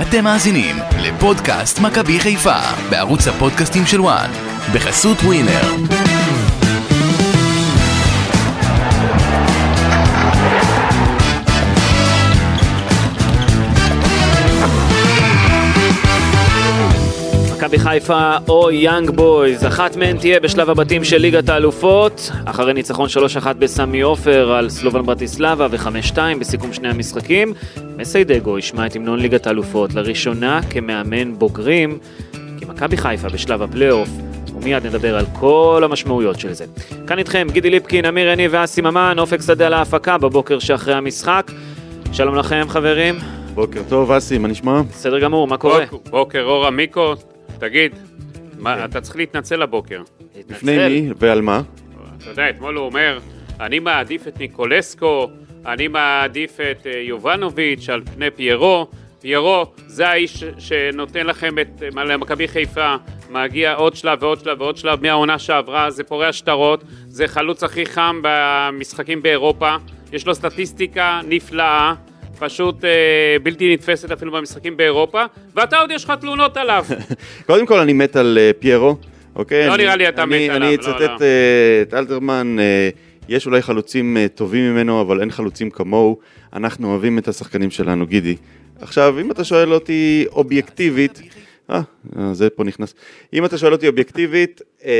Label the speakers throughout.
Speaker 1: אתם מאזינים לפודקאסט מכבי חיפה בערוץ הפודקאסטים של וואן בחסות ווינר.
Speaker 2: מכבי חיפה או יאנג בויז, אחת מהן תהיה בשלב הבתים של ליגת האלופות, אחרי ניצחון 3-1 בסמי עופר על סלובן ברטיסלבה ו-5-2 בסיכום שני המשחקים. מסיידגו ישמע את המנון ליגת האלופות לראשונה כמאמן בוגרים, כמכבי חיפה בשלב הפלייאוף, ומיד נדבר על כל המשמעויות של זה. כאן איתכם גידי ליפקין, אמיר יניב ואסי ממן, אופק שדה על ההפקה בבוקר שאחרי המשחק. שלום לכם חברים,
Speaker 3: בוקר טוב, אסי, מה נשמע?
Speaker 2: בסדר גמור, מה קורה?
Speaker 4: בוק- בוקר אור עמיקו, תגיד, מה, אתה צריך להתנצל הבוקר.
Speaker 3: לפני מי ועל מה?
Speaker 4: אתה יודע, אתמול הוא אומר, אני מעדיף את ניקולסקו, אני מעדיף את אה, יובנוביץ' על פני פיירו. פיירו זה האיש שנותן לכם את, אה, מה, למכבי חיפה, מגיע עוד שלב ועוד שלב ועוד שלב מהעונה שעברה, זה פורע שטרות, זה חלוץ הכי חם במשחקים באירופה, יש לו סטטיסטיקה נפלאה. פשוט אה, בלתי נתפסת אפילו במשחקים באירופה, ואתה עוד יש לך תלונות עליו.
Speaker 3: קודם כל, אני מת על אה, פיירו, אוקיי?
Speaker 4: לא
Speaker 3: אני-
Speaker 4: נראה לי אתה
Speaker 3: אני-
Speaker 4: מת עליו,
Speaker 3: אני
Speaker 4: לא,
Speaker 3: אצטט
Speaker 4: לא.
Speaker 3: אה, את אלתרמן, אה, יש אולי חלוצים אה, טובים ממנו, אבל אין חלוצים כמוהו. אנחנו אוהבים את השחקנים שלנו, גידי. עכשיו, אם אתה שואל אותי אובייקטיבית... אה, אה, זה פה נכנס. אם אתה שואל אותי אובייקטיבית, אה,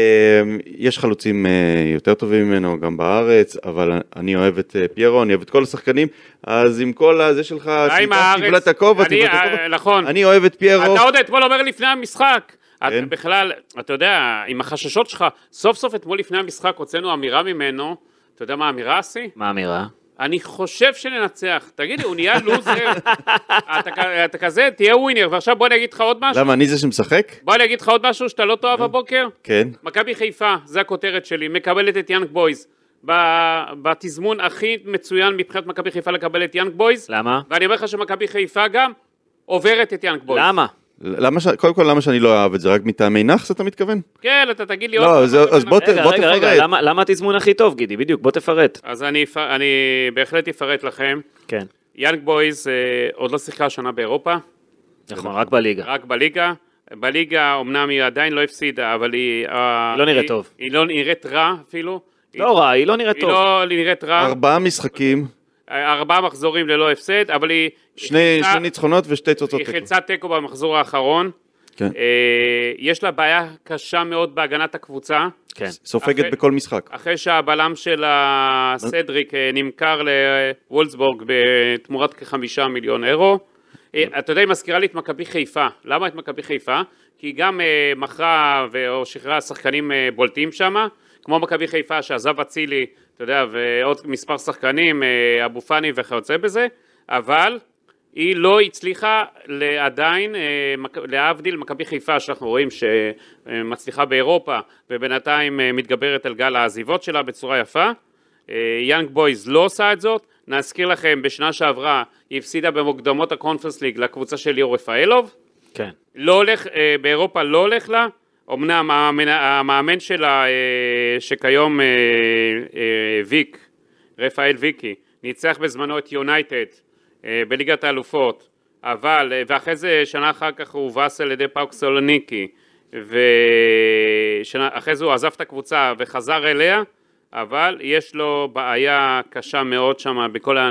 Speaker 3: יש חלוצים אה, יותר טובים ממנו גם בארץ, אבל אני אוהב את אה, פיירו, אני אוהב את כל השחקנים, אז עם כל הזה שלך,
Speaker 4: די עם
Speaker 3: שליטה,
Speaker 4: הארץ.
Speaker 3: תבלע את הכובע,
Speaker 4: אני,
Speaker 3: תבלע את
Speaker 4: אה,
Speaker 3: הכובע,
Speaker 4: נכון.
Speaker 3: אני אוהב את פיירו.
Speaker 4: אתה עוד אתמול אומר לפני המשחק. אתה
Speaker 3: כן.
Speaker 4: בכלל, אתה יודע, עם החששות שלך, סוף סוף אתמול לפני המשחק הוצאנו אמירה ממנו, אתה יודע מה האמירה, אסי?
Speaker 2: מה האמירה?
Speaker 4: אני חושב שננצח. תגיד לי, הוא נהיה לוזר, אתה, כ- אתה כזה, תהיה ווינר. ועכשיו בוא אני אגיד לך עוד משהו,
Speaker 3: למה, אני זה שמשחק?
Speaker 4: בוא אני אגיד לך עוד משהו שאתה לא תאהב הבוקר.
Speaker 3: כן.
Speaker 4: מכבי חיפה, זה הכותרת שלי, מקבלת את יאנג בויז. ב- בתזמון הכי מצוין מבחינת מכבי חיפה לקבל את יאנג בויז.
Speaker 2: למה?
Speaker 4: ואני אומר לך שמכבי חיפה גם עוברת את יאנג בויז.
Speaker 2: למה?
Speaker 3: למה ש... קודם כל, למה שאני לא אוהב את זה? רק מטעמי נאחס אתה מתכוון?
Speaker 4: כן, אתה תגיד לי
Speaker 3: לא,
Speaker 4: עוד...
Speaker 3: זה-
Speaker 4: פעם,
Speaker 3: אז בוא ת-
Speaker 2: רגע, רגע, רגע,
Speaker 3: תפרט.
Speaker 2: למה- למה התזמון הכי טוב, גידי? בדיוק, בוא תפרט.
Speaker 4: אז אני, אפ- אני בהחלט אפרט לכם.
Speaker 2: כן,
Speaker 4: יאנג בויז אה, עוד לא שיחקה השנה באירופה,
Speaker 2: נכון, רק בליגה.
Speaker 4: רק בליגה. בליגה אמנם היא עדיין לא הפסידה, אבל היא... אה,
Speaker 2: היא לא נראית טוב.
Speaker 4: היא לא נראית רע אפילו.
Speaker 2: לא רע, היא לא נראית
Speaker 4: היא
Speaker 2: טוב.
Speaker 4: לא נראית רע.
Speaker 3: ארבעה משחקים,
Speaker 4: אה, ארבעה מחזורים ללא הפסד, אבל היא...
Speaker 3: שני
Speaker 4: היא
Speaker 3: שני
Speaker 4: חילצה-
Speaker 3: ניצחונות ושתי תוצאות
Speaker 4: אה. היא
Speaker 3: תיקו.
Speaker 4: חילצה תיקו במחזור האחרון.
Speaker 3: כן.
Speaker 4: אה, יש לה בעיה קשה מאוד בהגנת הקבוצה.
Speaker 2: כן.
Speaker 3: סופגת
Speaker 4: אחרי-
Speaker 3: בכל משחק.
Speaker 4: אחרי שהבלם של הסדריק אה, נמכר לוולסבורג בתמורת כחמישה מיליון אירו. אה, אתה יודע, היא מזכירה לי את מכבי חיפה. למה את מכבי חיפה? כי היא גם אה, מכרה ו- או שחררה שחקנים אה, בולטים שם, כמו מכבי חיפה שעזב אצילי, אתה יודע, ועוד מספר שחקנים, אה, אבו פאני וכיוצא בזה, אבל היא לא הצליחה ל- עדיין, אה, מק- להבדיל מכבי חיפה שאנחנו רואים שמצליחה באירופה ובינתיים אה, מתגברת על גל העזיבות שלה בצורה יפה. אה, יאנג בויז לא עושה את זאת. נזכיר לכם, בשנה שעברה היא הפסידה במוקדמות הקונפרנס ליג לקבוצה של ליאור רפאלוב.
Speaker 2: כן.
Speaker 4: לא הולך, אה, באירופה לא הולך לה. אמנם המאמן, המאמן שלה, אה, שכיום אה, אה, ויק, רפאל ויקי, ניצח בזמנו את יונייטד אה, בליגת האלופות, אבל, אה, ואחרי זה, שנה אחר כך הוא הובס על ידי פאוק סולוניקי, ואחרי זה הוא עזב את הקבוצה וחזר אליה, אבל יש לו בעיה קשה מאוד שם בכל ה...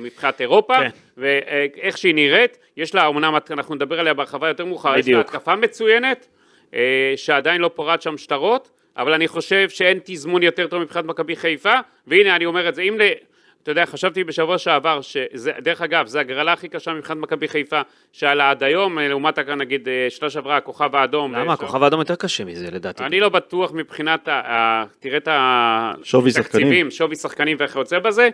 Speaker 4: מבחינת אירופה,
Speaker 2: כן.
Speaker 4: כן. ואיך שהיא נראית, יש לה, אמנם אנחנו נדבר עליה בהרחבה יותר מאוחר, יש לה
Speaker 2: בדיוק.
Speaker 4: התקפה מצוינת, אה, שעדיין לא פורעת שם שטרות, אבל אני חושב שאין תזמון יותר טוב מבחינת מכבי חיפה, והנה אני אומר את זה, אם ל... אתה יודע, חשבתי בשבוע שעבר, שזה, דרך אגב, זו הגרלה הכי קשה מבחינת מכבי חיפה שהיה לה עד היום, אה, לעומת, אה, נגיד, אה, שנה שעברה, הכוכב האדום. אה,
Speaker 2: למה?
Speaker 4: ויש לו-
Speaker 2: הכוכב האדום יותר קשה מזה, לדעתי.
Speaker 4: לא אני לא בטוח מבחינת, ה- ה- תראה את ה-
Speaker 3: שווי
Speaker 4: תקציבים,
Speaker 3: שחקנים.
Speaker 4: שווי שחקנים וכיוצא בזה.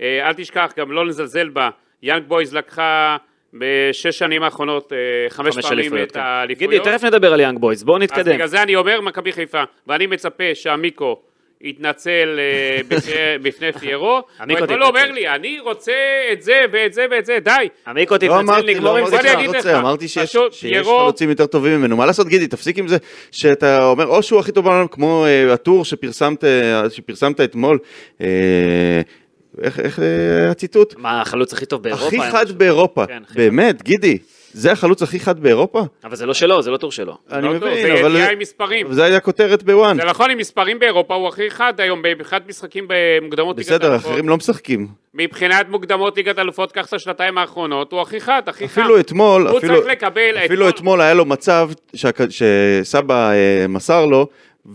Speaker 4: אה, אל תשכח, גם לא נזלזל בה, יאנג בויז לקחה בשש שנים האחרונות אה, חמש
Speaker 2: חמש
Speaker 4: פעמים
Speaker 2: אליפויות,
Speaker 4: את
Speaker 2: כן.
Speaker 4: האליפויות.
Speaker 2: גידי, תכף נדבר על יאנג בויז, בואו
Speaker 4: אז
Speaker 2: נתקדם.
Speaker 4: בגלל זה אני אומר מכבי חיפה, ואני מצפה שהמיקו יתנצל אה, בפני- בפני פיירו,
Speaker 2: המיקו
Speaker 4: הוא אתמול אומר
Speaker 2: תתנצל.
Speaker 4: לי, אני רוצה את זה ואת זה ואת זה, די.
Speaker 2: עמיקו
Speaker 3: לא
Speaker 2: תתנצל,
Speaker 3: אמרתי,
Speaker 2: נגמור
Speaker 3: לא
Speaker 2: עם זה.
Speaker 3: אמרתי
Speaker 4: אני
Speaker 3: שאתה
Speaker 4: אגיד
Speaker 3: רוצה,
Speaker 4: לך,
Speaker 3: אמרתי שיש
Speaker 4: פשוט
Speaker 3: שיש
Speaker 4: פיירו-
Speaker 3: חלוצים יותר טובים ממנו. מה לעשות, גידי, תפסיק עם זה שאתה אומר, או שהוא הכי טוב בעולם, כמו אה, הטור שפרסמת, אה, שפרסמת אתמול. אה, איך איך, אה, הציטוט?
Speaker 2: מה, החלוץ הכי טוב באירופה? אה?
Speaker 3: הכי
Speaker 2: אין
Speaker 3: חד
Speaker 2: משהו.
Speaker 3: באירופה.
Speaker 2: כן, הכי
Speaker 3: באמת, גידי. זה החלוץ הכי חד באירופה?
Speaker 2: אבל זה לא שלו, זה לא טור שלו.
Speaker 3: אני
Speaker 4: לא טוב,
Speaker 3: מבין,
Speaker 4: זה
Speaker 3: אבל...
Speaker 4: ידיעה עם מספרים.
Speaker 3: זה היה כותרת בוואן.
Speaker 4: זה נכון, עם מספרים באירופה הוא הכי חד היום, מבחינת משחקים במוקדמות ליגת
Speaker 3: בסדר,
Speaker 4: האלופות.
Speaker 3: אחרים לא משחקים.
Speaker 4: מבחינת מוקדמות ליגת האלופות, קח את השנתיים האחרונות, הוא הכי חד, הכי חם.
Speaker 3: אפילו אתמול,
Speaker 4: הוא
Speaker 3: אפילו,
Speaker 4: צריך לקבל...
Speaker 3: אפילו אתמול היה לו מצב שהכ- שסבא אה, מסר לו,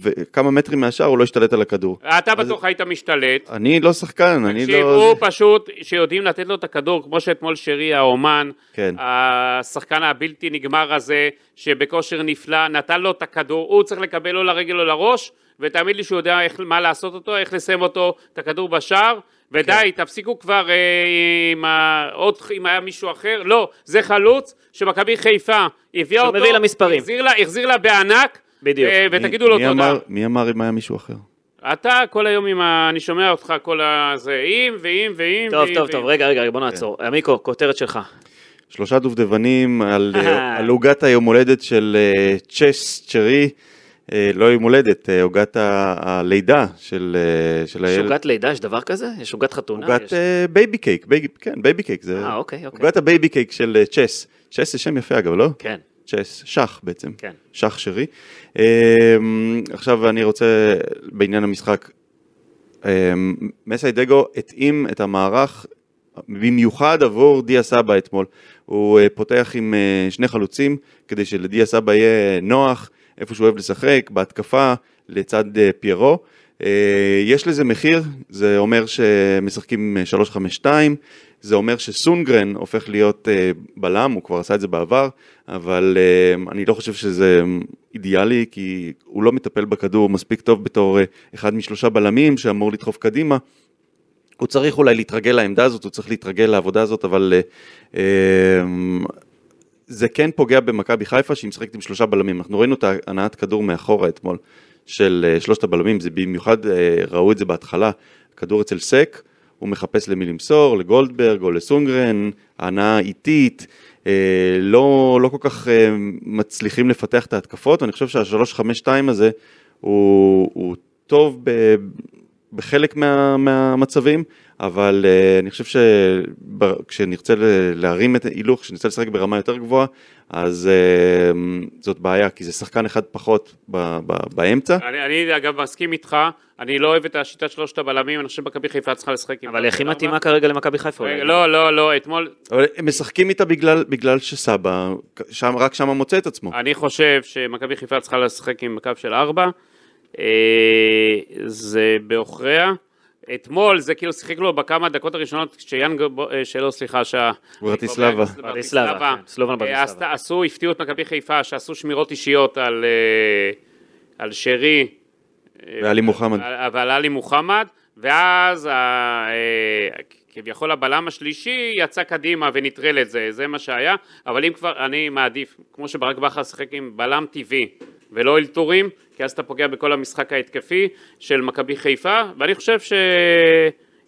Speaker 3: וכמה מטרים מהשאר הוא לא השתלט על הכדור.
Speaker 4: אתה בטוח היית משתלט.
Speaker 3: אני לא שחקן, אני
Speaker 4: תקשיב,
Speaker 3: לא...
Speaker 4: הוא פשוט, שיודעים לתת לו את הכדור, כמו שאתמול שרי האומן,
Speaker 3: כן.
Speaker 4: השחקן הבלתי נגמר הזה, שבכושר נפלא, נתן לו את הכדור, הוא צריך לקבל או לרגל או לראש, ותאמין לי שהוא יודע איך, מה לעשות אותו, איך לסיים אותו, את הכדור בשער, ודי,
Speaker 3: כן.
Speaker 4: תפסיקו כבר אה, עם ה... עוד, אם היה מישהו אחר, לא, זה חלוץ שמכבי חיפה הביאה אותו,
Speaker 2: שמביא לה מספרים.
Speaker 4: החזיר לה, החזיר לה בענק,
Speaker 2: בדיוק.
Speaker 4: אה,
Speaker 3: מי-
Speaker 4: ותגידו לו
Speaker 3: מי
Speaker 4: תודה.
Speaker 3: אמר- מי אמר אם היה מישהו אחר?
Speaker 4: אתה כל היום עם ה... אני שומע אותך כל הזה, אם ואם ואם
Speaker 2: טוב,
Speaker 4: ואם
Speaker 2: טוב,
Speaker 4: ואם.
Speaker 2: טוב, רגע, רגע,
Speaker 3: כן.
Speaker 2: בוא נעצור. עמיקו, כותרת שלך.
Speaker 3: שלושה דובדבנים על
Speaker 2: אהה.
Speaker 3: אה, על עוגת היום הולדת של אה, צ'ס צ'רי, אה, לא יום הולדת, אה, עוגת ה- הלידה של אה, של
Speaker 2: יש
Speaker 3: הילד.
Speaker 2: עוגת לידה, יש דבר כזה? יש עוגת חתונה?
Speaker 3: עוגת
Speaker 2: יש-
Speaker 3: אה, בייבי קייק, בייבי- כן, בייבי קייק זה...
Speaker 2: אה, אוקיי, אוקיי.
Speaker 3: עוגת הבייבי קייק של אה, צ'ס. צ'ס זה שם יפה אגב, לא?
Speaker 2: כן.
Speaker 3: צ'ס, שח בעצם,
Speaker 2: כן.
Speaker 3: שח שרי. אמ, עכשיו אני רוצה, בעניין המשחק, אמ, מסי דגו התאים את המערך במיוחד עבור דיה סבא אתמול. הוא אה, פותח עם אה, שני חלוצים, כדי שלדיה סבא יהיה נוח, איפה שהוא אוהב לשחק, בהתקפה, לצד אה, פיירו. אה, יש לזה מחיר, זה אומר שמשחקים אה, 3-5-2, זה אומר שסונגרן הופך להיות אה, בלם, הוא כבר עשה את זה בעבר, אבל אה, אני לא חושב שזה אידיאלי, כי הוא לא מטפל בכדור מספיק טוב בתור אה, אחד משלושה בלמים שאמור לדחוף קדימה. הוא צריך אולי להתרגל לעמדה הזאת, הוא צריך להתרגל לעבודה הזאת, אבל אה, אה, זה כן פוגע במכבי חיפה שהיא משחקת עם שלושה בלמים. אנחנו ראינו את הנעת כדור מאחורה אתמול של אה, שלושת הבלמים, זה במיוחד, אה, ראו את זה בהתחלה, כדור אצל סק, הוא מחפש למי למסור, לגולדברג או לסונגרן, הנעה איטית, אה, לא, לא כל כך אה, מצליחים לפתח את ההתקפות, ואני חושב שהשלוש חמש שתיים הזה הוא, הוא טוב ב, בחלק מה, מהמצבים, אבל uh, אני חושב שכשנרצה להרים את ההילוך, כשנרצה לשחק ברמה יותר גבוהה, אז uh, זאת בעיה, כי זה שחקן אחד פחות ב, ב, באמצע.
Speaker 4: אני, אני אגב מסכים איתך, אני לא אוהב את השיטת שלושת הבלמים, אני חושב שמכבי חיפה צריכה לשחק עם...
Speaker 2: אבל היא הכי
Speaker 4: ארבע.
Speaker 2: מתאימה כרגע למכבי חיפה.
Speaker 4: לא, רגע,
Speaker 2: אולי.
Speaker 4: לא, לא, לא, אתמול,
Speaker 3: אבל הם משחקים איתה בגלל, בגלל שסבא, שם, רק שם מוצא את עצמו.
Speaker 4: אני חושב שמכבי חיפה צריכה לשחק עם קו של ארבע, אה, זה בעוכריה. אתמול זה כאילו שיחק לו בכמה דקות הראשונות כשיאנג, בו- אה, שלא סליחה, שה...
Speaker 3: ברטיסלבה.
Speaker 2: ברטיסלבה, כן, סלובן ברטיסלבה.
Speaker 4: אה, עשתה- עשו, הפתיעו את מכבי חיפה, שעשו שמירות אישיות על, אה, על שרי. אה,
Speaker 3: ועלי מוחמד.
Speaker 4: על- ועל עלי מוחמד, ואז ה- אה, כביכול הבלם השלישי יצא קדימה ונטרל את זה, זה מה שהיה, אבל אם כבר, אני מעדיף, כמו שברק בכר שיחק עם בלם טבעי ולא אלתורים, כי אז אתה פוגע בכל המשחק ההתקפי של מכבי חיפה, ואני חושב ש...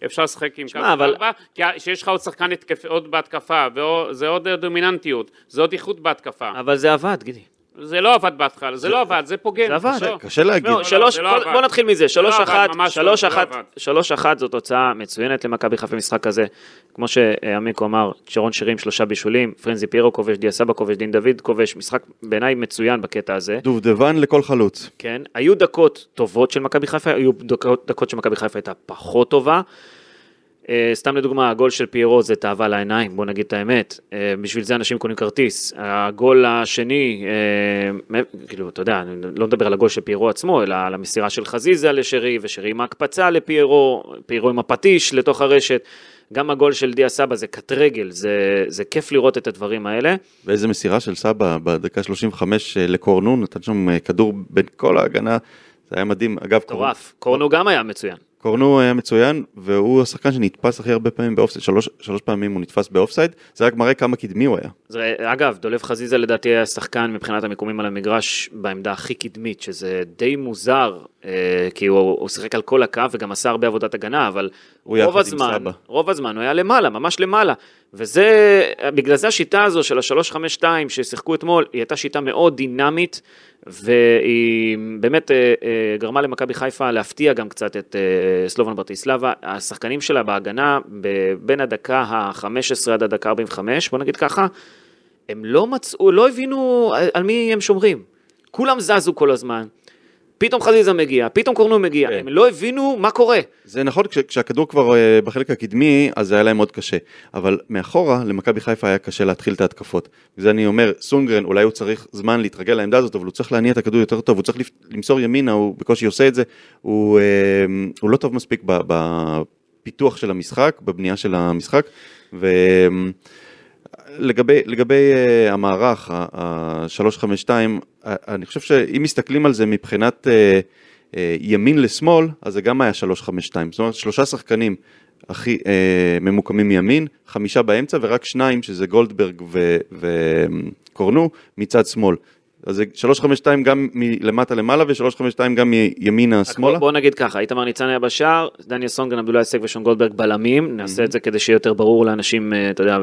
Speaker 4: אפשר לשחק עם
Speaker 2: שמע, אבל-
Speaker 4: ארבע, כי שיש לך עוד שחקן התקפ... עוד בהתקפה, וזה עוד דומיננטיות, זה עוד איכות בהתקפה.
Speaker 2: אבל זה עבד, גידי.
Speaker 4: זה לא עבד בהתחלה, זה לא עבד, זה פוגן.
Speaker 2: זה עבד.
Speaker 4: תחשוב.
Speaker 3: קשה להגיד.
Speaker 2: לא, שלוש,
Speaker 4: זה לא
Speaker 2: כל-
Speaker 4: עבד.
Speaker 2: בוא נתחיל מזה,
Speaker 4: זה לא
Speaker 2: שלוש
Speaker 4: עבד,
Speaker 2: אחת,
Speaker 4: ממש לא,
Speaker 2: שלוש
Speaker 4: זה לא
Speaker 2: אחת,
Speaker 4: עבד.
Speaker 2: שלוש אחת זו תוצאה מצוינת למכבי חיפה במשחק הזה. כמו שעמיקו אמר, שרון שירים שלושה בישולים, פרנזי פירו כובש, דיה סבא כובש, דין דוד כובש, משחק בעיניי מצוין בקטע הזה.
Speaker 3: דובדבן לכל חלוץ.
Speaker 2: כן, היו דקות טובות של מכבי חיפה, היו דקות, דקות שמכבי חיפה הייתה פחות טובה. Uh, סתם לדוגמה, הגול של פיירו זה תאווה לעיניים, בוא נגיד את האמת. Uh, בשביל זה אנשים קונים כרטיס. הגול השני, uh, כאילו, אתה יודע, אני לא מדבר על הגול של פיירו עצמו, אלא על המסירה של חזיזה לשרי, ושרי עם ההקפצה לפיירו, פיירו עם הפטיש לתוך הרשת. גם הגול של דיה סבא זה קט רגל, זה, זה כיף לראות את הדברים האלה.
Speaker 3: ואיזה מסירה של סבא בדקה 35 אה, לקורנון, נתן שם אה, כדור בין כל ההגנה, זה היה מדהים. אגב, קורנון-
Speaker 2: מטורף. קורנו גם היה מצוין.
Speaker 3: קורנו היה מצוין, והוא השחקן שנתפס הכי הרבה פעמים באופסייד, שלוש, שלוש פעמים הוא נתפס באופסייד, זה רק מראה כמה קדמי הוא היה.
Speaker 2: זה, אגב, דולב חזיזה לדעתי היה שחקן מבחינת המיקומים על המגרש בעמדה הכי קדמית, שזה די מוזר, אה, כי הוא, הוא שיחק על כל הקו וגם עשה הרבה עבודת הגנה, אבל
Speaker 3: הוא
Speaker 2: רוב
Speaker 3: יחד עם
Speaker 2: הזמן,
Speaker 3: סבא.
Speaker 2: רוב הזמן הוא היה למעלה, ממש למעלה. וזה, בגלל זה השיטה הזו של ה-352 ששיחקו אתמול, היא הייתה שיטה מאוד דינמית, והיא באמת אה, אה, גרמה למכבי חיפה להפתיע גם קצת את אה, סלובן ברטיסלבה. השחקנים שלה בהגנה, ב- בין הדקה ה-15 עד הדקה 45, בוא נגיד ככה, הם לא מצאו, לא הבינו על- על מי הם שומרים. כולם זזו כל הזמן. פתאום חזיזה מגיע, פתאום קורנו מגיע,
Speaker 3: כן.
Speaker 2: הם לא הבינו מה קורה.
Speaker 3: זה נכון, כש, כשהכדור כבר אה, בחלק הקדמי, אז היה להם מאוד קשה. אבל מאחורה, למכבי חיפה היה קשה להתחיל את ההתקפות. זה אני אומר, סונגרן, אולי הוא צריך זמן להתרגל לעמדה הזאת, אבל הוא צריך להניע את הכדור יותר טוב, הוא צריך לפ- למסור ימינה, הוא בקושי עושה את זה. הוא, אה, הוא לא טוב מספיק ב- בפיתוח של המשחק, בבנייה של המשחק. ו... לגבי, לגבי uh, המערך, ה-352, אה, אני חושב שאם מסתכלים על זה מבחינת uh, uh, ימין לשמאל, אז זה גם היה 352. זאת אומרת, שלושה שחקנים הכי uh, ממוקמים מימין, חמישה באמצע ורק שניים, שזה גולדברג וקורנו, מצד שמאל. אז זה 352 גם מלמטה למעלה ו-352 גם מימינה שמאלה.
Speaker 2: בוא, בוא נגיד ככה, איתמר ניצן היה בשער, דניאל סונגרן, עבדולאי סק ושון גולדברג בלמים, נעשה את זה כדי שיהיה יותר ברור לאנשים, אה, אתה יודע,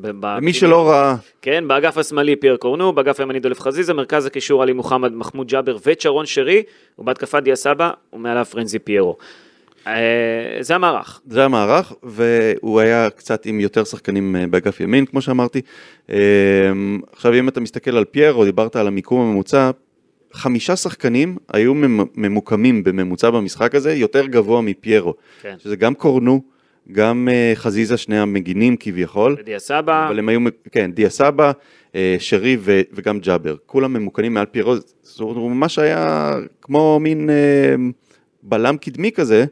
Speaker 2: ב- ב-
Speaker 3: למי שלא ראה,
Speaker 2: כן, באגף השמאלי פייר קורנו, באגף הימני דולף חזיזה, מרכז הקישור עלי מוחמד, מחמוד ג'אבר וצ'רון שרי, ובהתקפה דיה סבא, ומעליו פרנזי פיירו. אה, זה המערך.
Speaker 3: זה המערך, והוא היה קצת עם יותר שחקנים אה, באגף ימין, כמו שאמרתי. אה, עכשיו, אם אתה מסתכל על פיירו, דיברת על המיקום הממוצע, חמישה שחקנים היו ממ- ממוקמים בממוצע במשחק הזה, יותר גבוה מפיירו.
Speaker 2: כן.
Speaker 3: שזה גם קורנו, גם אה, חזיזה, שני המגינים כביכול.
Speaker 2: ודיה סבא,
Speaker 3: אבל הם היו, כן, דיה סבא, אה, שרי ו, וגם ג'אבר. כולם ממוקמים מעל פיירו, זאת אומרת, הוא ממש היה כמו מין אה, בלם קדמי כזה.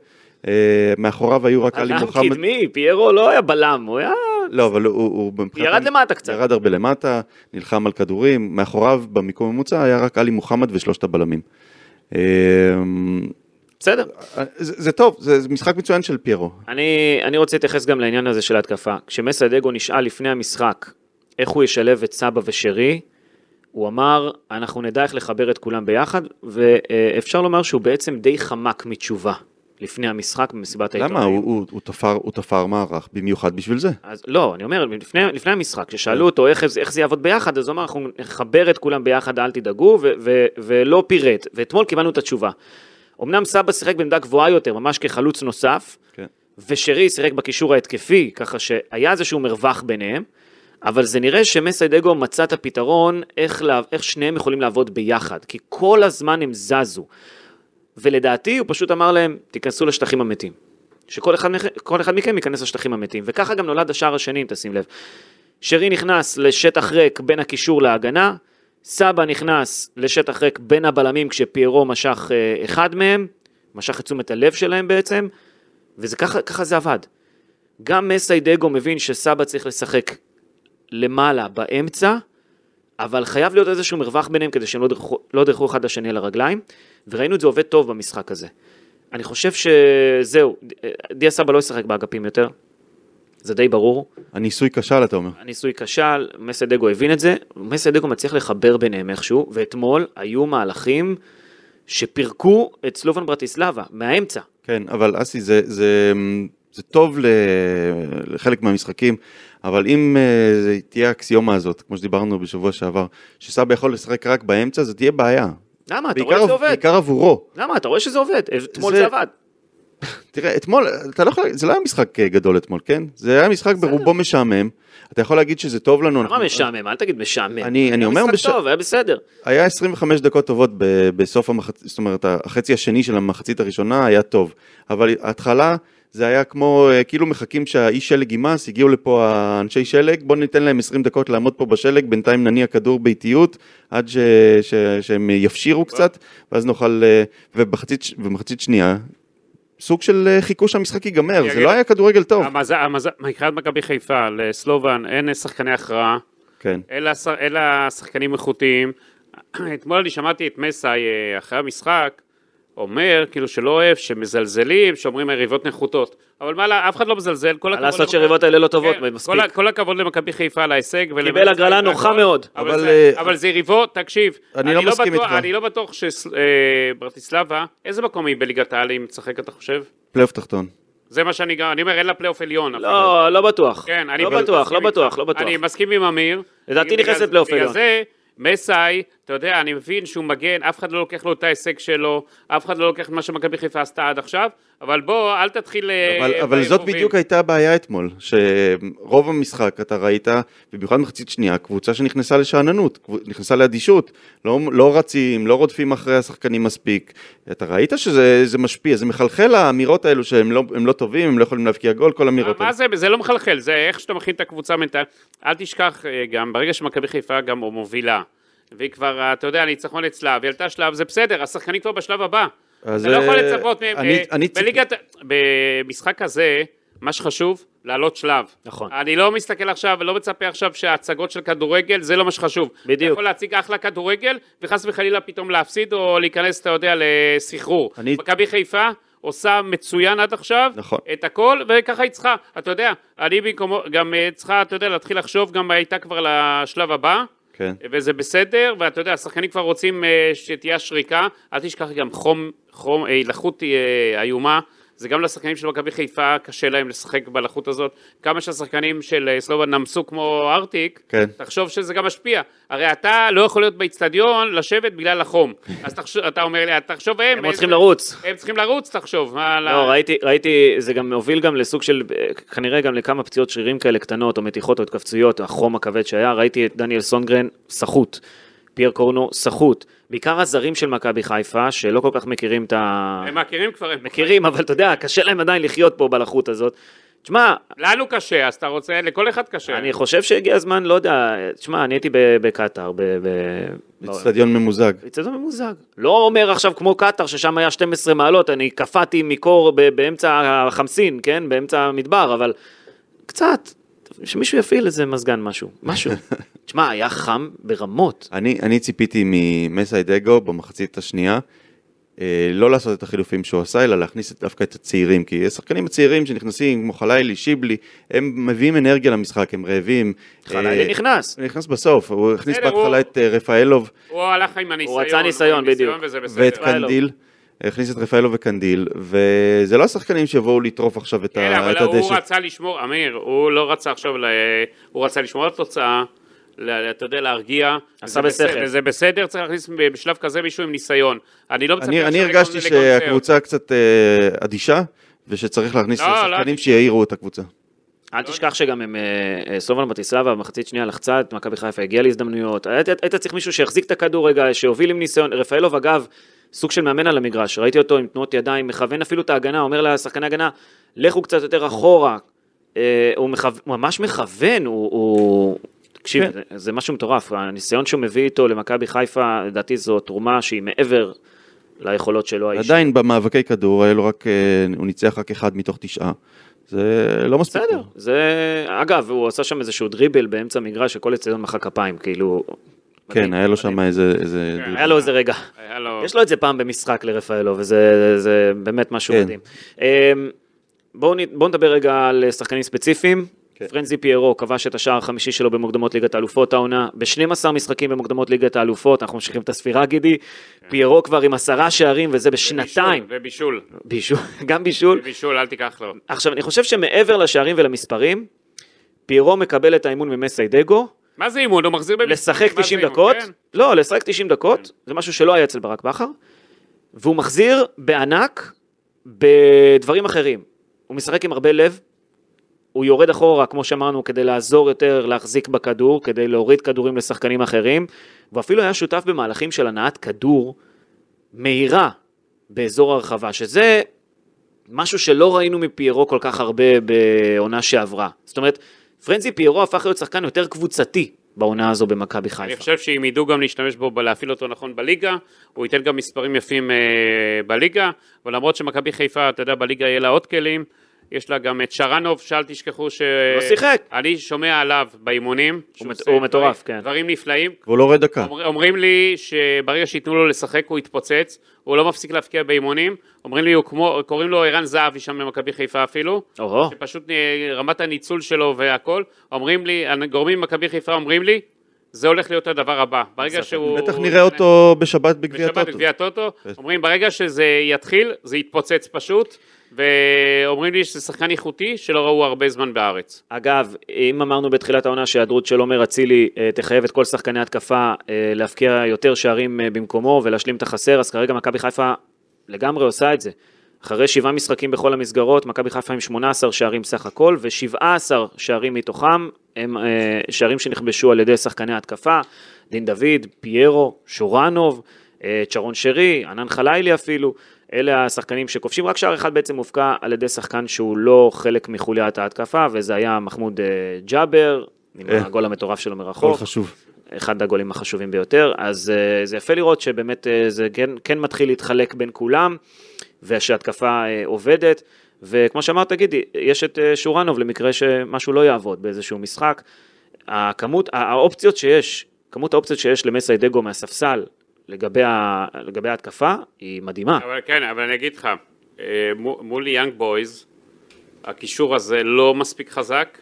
Speaker 3: אה, מאחוריו היו רק עלי
Speaker 2: עולם
Speaker 3: מוחמד.
Speaker 2: קדמי, פיירו לא היה בלם, הוא היה...
Speaker 3: לא, אבל הוא, הוא מבחינת...
Speaker 2: ירד למטה קצת.
Speaker 3: ירד הרבה למטה, נלחם על כדורים, מאחוריו במיקום הממוצע היה רק עלי מוחמד ושלושת הבלמים. אה,
Speaker 2: בסדר.
Speaker 3: זה, זה טוב, זה, זה משחק מצוין של פיירו.
Speaker 2: אני, אני רוצה להתייחס גם לעניין הזה של ההתקפה. כשמסיידגו נשאל לפני המשחק איך הוא ישלב את סבא ושרי, הוא אמר, אנחנו נדע איך לחבר את כולם ביחד, ואפשר לומר שהוא בעצם די חמק מתשובה לפני המשחק במסיבת העיתונאים.
Speaker 3: למה? הוא, הוא, הוא, תפר, הוא תפר מערך במיוחד בשביל זה.
Speaker 2: אז לא, אני אומר, לפני, לפני המשחק, כששאלו אותו איך, זה- איך זה יעבוד ביחד, אז הוא אמר, אנחנו נחבר את כולם ביחד, אל תדאגו, ו- ו- ולא פירט. ואתמול קיבלנו את התשובה. אמנם סבא שיחק בעמדה גבוהה יותר, ממש כחלוץ נוסף,
Speaker 3: כן.
Speaker 2: ושרי שיחק בקישור ההתקפי, ככה שהיה איזשהו מרווח ביניהם, אבל זה נראה שמסיידגו מצא את הפתרון איך, לה, איך שניהם יכולים לעבוד ביחד, כי כל הזמן הם זזו. ולדעתי הוא פשוט אמר להם, תיכנסו לשטחים המתים. שכל אחד, מכ- כל אחד מכם ייכנס לשטחים המתים, וככה גם נולד השער השני, אם תשים לב. שרי נכנס לשטח ריק בין הקישור להגנה, סבא נכנס לשטח ריק בין הבלמים כשפיירו משך אה, אחד מהם, משך את תשומת הלב שלהם בעצם, וזה ככה, ככה זה עבד. גם מסיידגו מבין שסבא צריך לשחק למעלה באמצע, אבל חייב להיות איזשהו מרווח ביניהם כדי שהם לא דרכו, לא דרכו אחד לשני על הרגליים, וראינו את זה עובד טוב במשחק הזה. אני חושב שזהו, ד- דיה סבא לא ישחק באגפים יותר, זה די ברור.
Speaker 3: הניסוי כשל, אתה אומר.
Speaker 2: הניסוי כשל, מסיידגו הבין את זה, מסיידגו מצליח לחבר ביניהם איכשהו, ואתמול היו מהלכים שפירקו את סלובן ברטיסלבה מהאמצע.
Speaker 3: כן, אבל אסי, זה, זה, זה טוב ל- לחלק מהמשחקים, אבל אם אה, זה תהיה האקסיומה הזאת, כמו שדיברנו בשבוע שעבר, שסבא יכול לשחק רק באמצע, זה תהיה בעיה.
Speaker 2: למה? אתה רואה
Speaker 3: בעיקר,
Speaker 2: שזה עובד.
Speaker 3: בעיקר עבורו.
Speaker 2: למה? אתה רואה שזה עובד. אתמול
Speaker 3: זה-
Speaker 2: זה עבד.
Speaker 3: תראה, אתמול, אתה לא יכול, זה לא היה משחק אה, גדול אתמול, כן? זה היה משחק ברובו משעמם. אתה יכול להגיד שזה טוב לנו.
Speaker 2: מה
Speaker 3: אנחנו-
Speaker 2: משעמם? אל תגיד משעמם.
Speaker 3: נכון. אני- אני
Speaker 2: היה
Speaker 3: אומר בש-
Speaker 2: משחק טוב, היה בסדר.
Speaker 3: היה 25 דקות טובות ב- בסוף המחצית, זאת אומרת, החצי השני של המחצית הראשונה היה טוב, אבל ההתחלה זה היה כמו, אה, כאילו מחכים שהאיש שלג יימס, הגיעו לפה האנשי שלג, בואו ניתן להם 20 דקות לעמוד פה בשלג, בינתיים נניע כדור באיטיות, עד ש, ש, שהם יפשירו קצת, ואז נוכל, אה, ובחצית, ש- ובמחצית שנייה, סוג של אה, חיכו שהמשחק ייגמר, זה
Speaker 4: אגיד-
Speaker 3: לא היה כדורגל טוב.
Speaker 4: המזל, המזל, מבחינת מכבי חיפה, לסלובן אין שחקני הכרעה,
Speaker 3: כן,
Speaker 4: אלא, ש- אלא שחקנים איכותיים. אתמול אני שמעתי את מסאי אה, אחרי המשחק אומר, כאילו שלא אוהב, שמזלזלים, שאומרים היריבות נחותות. אבל מה, לה, אף אחד לא מזלזל, כל
Speaker 2: מה
Speaker 4: הכבוד
Speaker 2: לעשות
Speaker 4: למכבי-
Speaker 2: שהיריבות האלה לא טובות,
Speaker 4: כן,
Speaker 2: מספיק.
Speaker 4: כל ה- כל הכבוד למכבי חיפה על ההישג. ול-
Speaker 2: קיבל הגרלה נוחה מאוד.
Speaker 4: אבל,
Speaker 3: אבל,
Speaker 4: זה,
Speaker 3: אה,
Speaker 4: אבל זה יריבות, תקשיב.
Speaker 3: אני לא מסכים
Speaker 4: בטוח,
Speaker 3: איתך.
Speaker 4: אני לא בטוח שברטיסלבה, איזה מקום היא בליגת העל אם תשחק, אתה חושב?
Speaker 3: פלייאוף תחתון.
Speaker 4: זה מה שאני גם, אני אומר, אין לה פלייאוף עליון.
Speaker 3: נכון.
Speaker 4: אפילו.
Speaker 2: לא, לא בטוח.
Speaker 4: כן, אני
Speaker 2: לא בטוח, לא
Speaker 4: מסכים
Speaker 2: בטוח,
Speaker 4: איתך.
Speaker 2: לא בטוח.
Speaker 4: אני מסכים עם אמיר.
Speaker 2: לדעתי
Speaker 4: בגלל-
Speaker 2: נכנסת לפלייאוף עליון.
Speaker 4: בגלל זה, מסאי, אתה יודע, אני מבין שהוא מגן, אף אחד לא לוקח לו את ההישג שלו, אף אחד לא לוקח את מה שמכבי חיפה עשתה עד עכשיו, אבל בוא, אל תתחיל... אה,
Speaker 3: אבל, אבל זאת
Speaker 4: בהרהורים.
Speaker 3: בדיוק הייתה הבעיה אתמול, שרוב המשחק אתה ראית, במיוחד מחצית שנייה, קבוצה שנכנסה לשאננות, קבוצ- נכנסה לאדישות, לא, לא רצים, לא רודפים אחרי השחקנים מספיק. אתה ראית שזה זה משפיע, זה מחלחל האמירות האלו שהם לא, הם לא טובים, הם לא יכולים להבקיע גול, כל האמירות
Speaker 4: מה
Speaker 3: האלו.
Speaker 4: זה, זה לא מחלחל, זה איך שאתה מכין את הקבוצה מנטלית. אל תשכח אה, גם, ברגע שמכבי חיפה גם מובילה, והיא כבר, אה, אתה יודע, הניצחון אצלה, והיא עלתה שלב, זה בסדר, השחקנים כבר בשלב הבא.
Speaker 3: אז,
Speaker 4: אתה לא יכול
Speaker 3: אה,
Speaker 4: לצפות מהם.
Speaker 3: אני-
Speaker 4: אה,
Speaker 3: אני ציפ-
Speaker 4: בליגת... במשחק הזה, מה שחשוב, לעלות שלב.
Speaker 2: נכון.
Speaker 4: אני לא מסתכל עכשיו, לא מצפה עכשיו שההצגות של כדורגל, זה לא מה שחשוב. אתה
Speaker 2: בדיוק.
Speaker 4: יכול להציג אחלה כדורגל, וחס וחלילה פתאום להפסיד, או להיכנס, אתה יודע, לסחרור.
Speaker 3: אני-
Speaker 4: מכבי חיפה עושה מצוין עד עכשיו,
Speaker 3: נכון.
Speaker 4: את הכל, וככה היא צריכה. אתה יודע, אני במקומו, גם אה, צריכה, אתה יודע, להתחיל לחשוב, גם הייתה כבר לשלב הבא.
Speaker 3: כן.
Speaker 4: וזה בסדר, ואתה יודע, השחקנים כבר רוצים אה, שתהיה השריקה, אל תשכח גם חום, חום, אה, לחות אה, איומה, זה גם לשחקנים של מכבי חיפה, קשה להם לשחק בלחות הזאת, כמה שהשחקנים של אה, סלובן נמסו כמו ארטיק,
Speaker 3: כן.
Speaker 4: תחשוב שזה גם משפיע, הרי אתה לא יכול להיות באיצטדיון לשבת בגלל החום, אז תחשוב, אתה אומר לי, "אה, תחשוב הם,
Speaker 2: הם עוד צריכים לרוץ.
Speaker 4: הם צריכים לרוץ, תחשוב, מה,
Speaker 2: לא, ראיתי, ראיתי, זה גם הוביל גם לסוג של, אה, כנראה גם לכמה פציעות שרירים כאלה קטנות, או מתיחות, או התכווצויות, החום הכבד שהיה, ראיתי את דניאל סונגרן סחוט, פייר קורנו סחוט, בעיקר הזרים של מכבי חיפה, שלא כל כך מכירים את ה...
Speaker 4: הם מכירים כבר, הם
Speaker 2: מכירים, אבל אתה יודע, קשה להם עדיין לחיות פה בלחות הזאת. תשמע,
Speaker 4: לנו קשה, אז אתה רוצה, לכל אחד קשה,
Speaker 2: אני חושב שהגיע הזמן, לא יודע, תשמע, אני הייתי ב- בקטאר, ב...
Speaker 4: לא,
Speaker 2: ב-
Speaker 3: אצטדיון ממוזג.
Speaker 2: אצטדיון ממוזג. לא אומר עכשיו כמו קטאר, ששם היה 12 מעלות, אני קפאתי מקור ב- באמצע החמסין, כן? באמצע המדבר, אבל קצת, שמישהו יפעיל איזה מזגן משהו, משהו. תשמע, היה חם ברמות.
Speaker 3: אני, אני ציפיתי ממסיידגו במחצית השנייה, אה, לא לעשות את החילופים שהוא עשה, אלא להכניס את- דווקא את הצעירים, כי השחקנים הצעירים שנכנסים, כמו חלילי, שיבלי, הם מביאים אנרגיה למשחק, הם רעבים.
Speaker 2: חנאלי
Speaker 3: אה,
Speaker 2: נכנס.
Speaker 3: הוא נכנס בסוף, הוא הכניס
Speaker 4: בסדר,
Speaker 3: בהתחלה
Speaker 4: הוא-
Speaker 3: את אה, רפאלוב
Speaker 4: הוא הלך עם הניסיון,
Speaker 2: רצה
Speaker 4: עם
Speaker 2: ניסיון, בדיוק. לא,
Speaker 4: וזה בסדר.
Speaker 3: ואת
Speaker 2: רפאלוב.
Speaker 3: קנדיל, הכניס את רפאלוב וקנדיל, וזה לא השחקנים שיבואו לטרוף עכשיו את
Speaker 4: כן,
Speaker 3: ה-
Speaker 4: אבל
Speaker 3: את
Speaker 4: הוא
Speaker 3: הדשא.
Speaker 4: רצה לשמור, אמיר, הוא לא רצה עכשיו, ל... הוא רצה לשמור על תוצאה, ל... אתה יודע, להרגיע. וזה
Speaker 2: בשכל.
Speaker 4: בסדר- וזה בסדר, צריך להכניס בשלב כזה מישהו עם ניסיון. אני לא מצפה...
Speaker 3: אני,
Speaker 4: עכשיו
Speaker 3: אני
Speaker 4: לקונ-
Speaker 3: הרגשתי
Speaker 4: לקונצרט.
Speaker 3: שהקבוצה קצת אה, אדישה, ושצריך להכניס
Speaker 4: לא, לא,
Speaker 3: שחקנים
Speaker 4: אני-
Speaker 3: שיעירו את הקבוצה.
Speaker 2: אל תשכח שגם הם, אה, אה, סלובן בטיסלבה, במחצית שנייה לחצה את מכבי חיפה, הגיעה להזדמנויות. היית- היית צריך מישהו שיחזיק את הכדור רגע, שיוביל עם ניסיון. רפאלוב, אגב, סוג של מאמן על המגרש, ראיתי אותו עם תנועות ידיים, מכוון אפילו את ההגנה, אומר לשחקני הגנה, לכו קצת יותר אחורה. אה, הוא מכו- הוא ממש מכוון, הוא... הוא... תקשיב,
Speaker 3: כן.
Speaker 2: זה- זה משהו מטורף, הניסיון שהוא מביא איתו למכבי חיפה, לדעתי זו תרומה שהיא מעבר ליכולות שלו האישית.
Speaker 3: עדיין במאבקי כדור, היה לו רק, אה, הוא ניצח רק אחד מתוך תשעה. זה לא מספיק.
Speaker 2: בסדר,
Speaker 3: טוב.
Speaker 2: זה... אגב, הוא עשה שם איזשהו דריבל באמצע המגרש שכל אצטדיון מחא כפיים, כאילו... מדהים,
Speaker 3: כן, היה לו שם
Speaker 2: מדהים.
Speaker 3: איזה... איזה-
Speaker 4: כן.
Speaker 2: היה לו איזה רגע.
Speaker 4: היה לו...
Speaker 2: יש לו את זה פעם במשחק לרפאלו, וזה זה- זה באמת משהו
Speaker 3: כן.
Speaker 2: מדהים. אמ, בואו נ- בואו נדבר רגע על שחקנים ספציפיים.
Speaker 3: כן.
Speaker 2: פרנזי פיירו כבש את השער החמישי שלו במוקדמות ליגת האלופות העונה, ב-12 משחקים במוקדמות ליגת האלופות, אנחנו ממשיכים את הספירה גידי,
Speaker 4: כן.
Speaker 2: פיירו כבר עם עשרה שערים וזה בשנתיים,
Speaker 4: ובישול,
Speaker 2: בישול, גם בישול,
Speaker 4: ובישול, אל תיקח לו.
Speaker 2: עכשיו, אני חושב שמעבר לשערים ולמספרים, פיירו מקבל את האימון ממסיידגו,
Speaker 4: מה זה אימון? הוא מחזיר בבישול.
Speaker 2: לשחק
Speaker 4: מה זה
Speaker 2: 90
Speaker 4: אימון?
Speaker 2: דקות,
Speaker 4: כן.
Speaker 2: לא, לשחק 90 דקות, זה משהו שלא היה אצל ברק בכר, והוא מחזיר בענק בדברים אחרים. הוא משחק עם הרבה לב, הוא יורד אחורה, כמו שאמרנו, כדי לעזור יותר להחזיק בכדור, כדי להוריד כדורים לשחקנים אחרים, ואפילו היה שותף במהלכים של הנעת כדור מהירה באזור הרחבה, שזה משהו שלא ראינו מפיירו כל כך הרבה בעונה שעברה. זאת אומרת, פרנזי פיירו הפך להיות שחקן יותר קבוצתי בעונה הזו במכבי
Speaker 4: אני
Speaker 2: חיפה.
Speaker 4: חושב שאם ידעו גם להשתמש בו, ב- להפעיל אותו נכון בליגה, הוא ייתן גם מספרים יפים אה, בליגה, אבל למרות שמכבי חיפה, אתה יודע, בליגה יהיה לה עוד כלים, יש לה גם את שרנוב, שאל תשכחו ש...
Speaker 2: לא שיחק.
Speaker 4: אני שומע עליו באימונים. שהוא
Speaker 2: מת-
Speaker 4: עושה
Speaker 2: הוא מטורף,
Speaker 4: דברים-
Speaker 2: כן.
Speaker 4: דברים נפלאים.
Speaker 3: והוא לא רואה דקה.
Speaker 4: אומר, אומרים לי שברגע שייתנו לו לשחק הוא יתפוצץ, הוא לא מפסיק להפקיע באימונים, אומרים לי, הוא כמו, קוראים לו ערן זהבי שם במכבי חיפה אפילו,
Speaker 2: או-הו,
Speaker 4: שפשוט אה, רמת הניצול שלו והכל, אומרים לי, גורמים במכבי חיפה אומרים לי, זה הולך להיות הדבר הבא. ברגע
Speaker 2: בספק.
Speaker 4: שהוא...
Speaker 3: בטח נראה אותו בשבת בגביע
Speaker 4: כן.
Speaker 3: כן.
Speaker 4: בשבת
Speaker 3: הטוטו.
Speaker 4: בגביע הטוטו, אומרים ברגע שזה יתחיל, זה יתפוצץ פשוט, ואומרים לי שזה שחקן איכותי שלא ראו הרבה זמן בארץ.
Speaker 2: אגב, אם אמרנו בתחילת העונה שהיעדרות של עומר אצילי אה, תחייב את כל שחקני התקפה אה, להפקיע יותר שערים אה, במקומו ולהשלים את החסר, אז כרגע מכבי חיפה לגמרי עושה את זה. אחרי שבעה משחקים בכל המסגרות, מכבי חיפה עם 18 שערים סך הכל, ו-17 שערים מתוכם הם אה, שערים שנכבשו על ידי שחקני התקפה, דין דוד, פיירו, שורנוב, אה, צ'רון שרי, ענן חלילי אפילו. אלה השחקנים שכובשים, רק שער אחד בעצם הופקע על ידי שחקן שהוא לא חלק מחוליית ההתקפה, וזה היה מחמוד אה, ג'אבר, עם
Speaker 3: אה. אוקיי.
Speaker 2: הגול המטורף שלו מרחוק.
Speaker 3: הכל חשוב.
Speaker 2: אחד הגולים החשובים ביותר, אז אה, זה יפה לראות שבאמת אה, זה כן, כן מתחיל להתחלק בין כולם, ושהתקפה אה, עובדת, וכמו שאמרת, גידי, יש את אה, שורנוב למקרה שמשהו לא יעבוד באיזשהו משחק. הכמות, הא- האופציות שיש, כמות האופציות שיש למסיידגו מהספסל לגבי, ה, לגבי ההתקפה היא מדהימה.
Speaker 4: אבל כן, אבל אני אגיד לך, אה, מו- מול יאנג בויז, הקישור הזה לא מספיק חזק,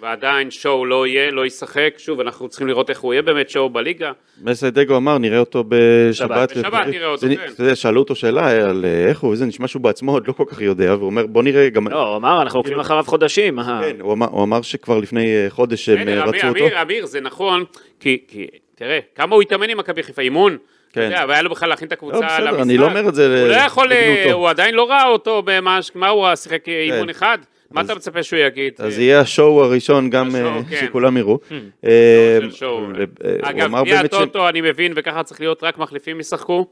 Speaker 4: ועדיין שואו לא יהיה, לא ישחק, שוב, אנחנו צריכים לראות איך הוא יהיה באמת שואו בליגה,
Speaker 3: מסיידגו אמר, נראה אותו בשבת.
Speaker 4: בשבת
Speaker 3: וזה-
Speaker 4: נראה אותו,
Speaker 3: זה-
Speaker 4: כן.
Speaker 3: אתה יודע, שאלו אותו שאלה על אה, איך הוא, וזה נשמע שהוא בעצמו עוד לא כל כך יודע, והוא אומר, בוא נראה גם...
Speaker 2: לא, הוא אמר, אנחנו עוקבים אחריו חודשים. אה.
Speaker 3: כן, הוא אמר- הוא אמר שכבר לפני אה, חודש הם
Speaker 4: בסדר,
Speaker 3: אה,
Speaker 4: אמיר,
Speaker 3: רצו אותו.
Speaker 4: אמיר, אמיר, זה נכון, כי, כי תראה, כמה הוא התאמן עם מכבי חיפה, אימון.
Speaker 3: כן.
Speaker 4: כן. אתה יודע, והיה לו בכלל להכין את הקבוצה
Speaker 3: לא, בסדר,
Speaker 4: למשחק.
Speaker 3: אני לא אומר את זה
Speaker 4: הוא לא
Speaker 3: ל-
Speaker 4: יכול, אה,
Speaker 3: לגנותו.
Speaker 4: הוא עדיין לא ראה אותו, במה, מה הוא ראה, שיחק אה, אימון אחד? מה אתה מצפה שהוא יגיד?
Speaker 3: כן.
Speaker 4: אה,
Speaker 3: אז יהיה השואו הראשון גם
Speaker 4: כן. השואו,
Speaker 3: אה,
Speaker 4: כן.
Speaker 3: שכולם יראו.
Speaker 2: Hmm.
Speaker 4: אה,
Speaker 3: אה,
Speaker 4: של שואו.
Speaker 3: אה, אה, הוא
Speaker 4: אגב,
Speaker 3: אמר
Speaker 4: בלי
Speaker 3: באמת ש-
Speaker 4: הטוטו אני מבין, וככה צריך להיות, רק מחליפים ישחקו.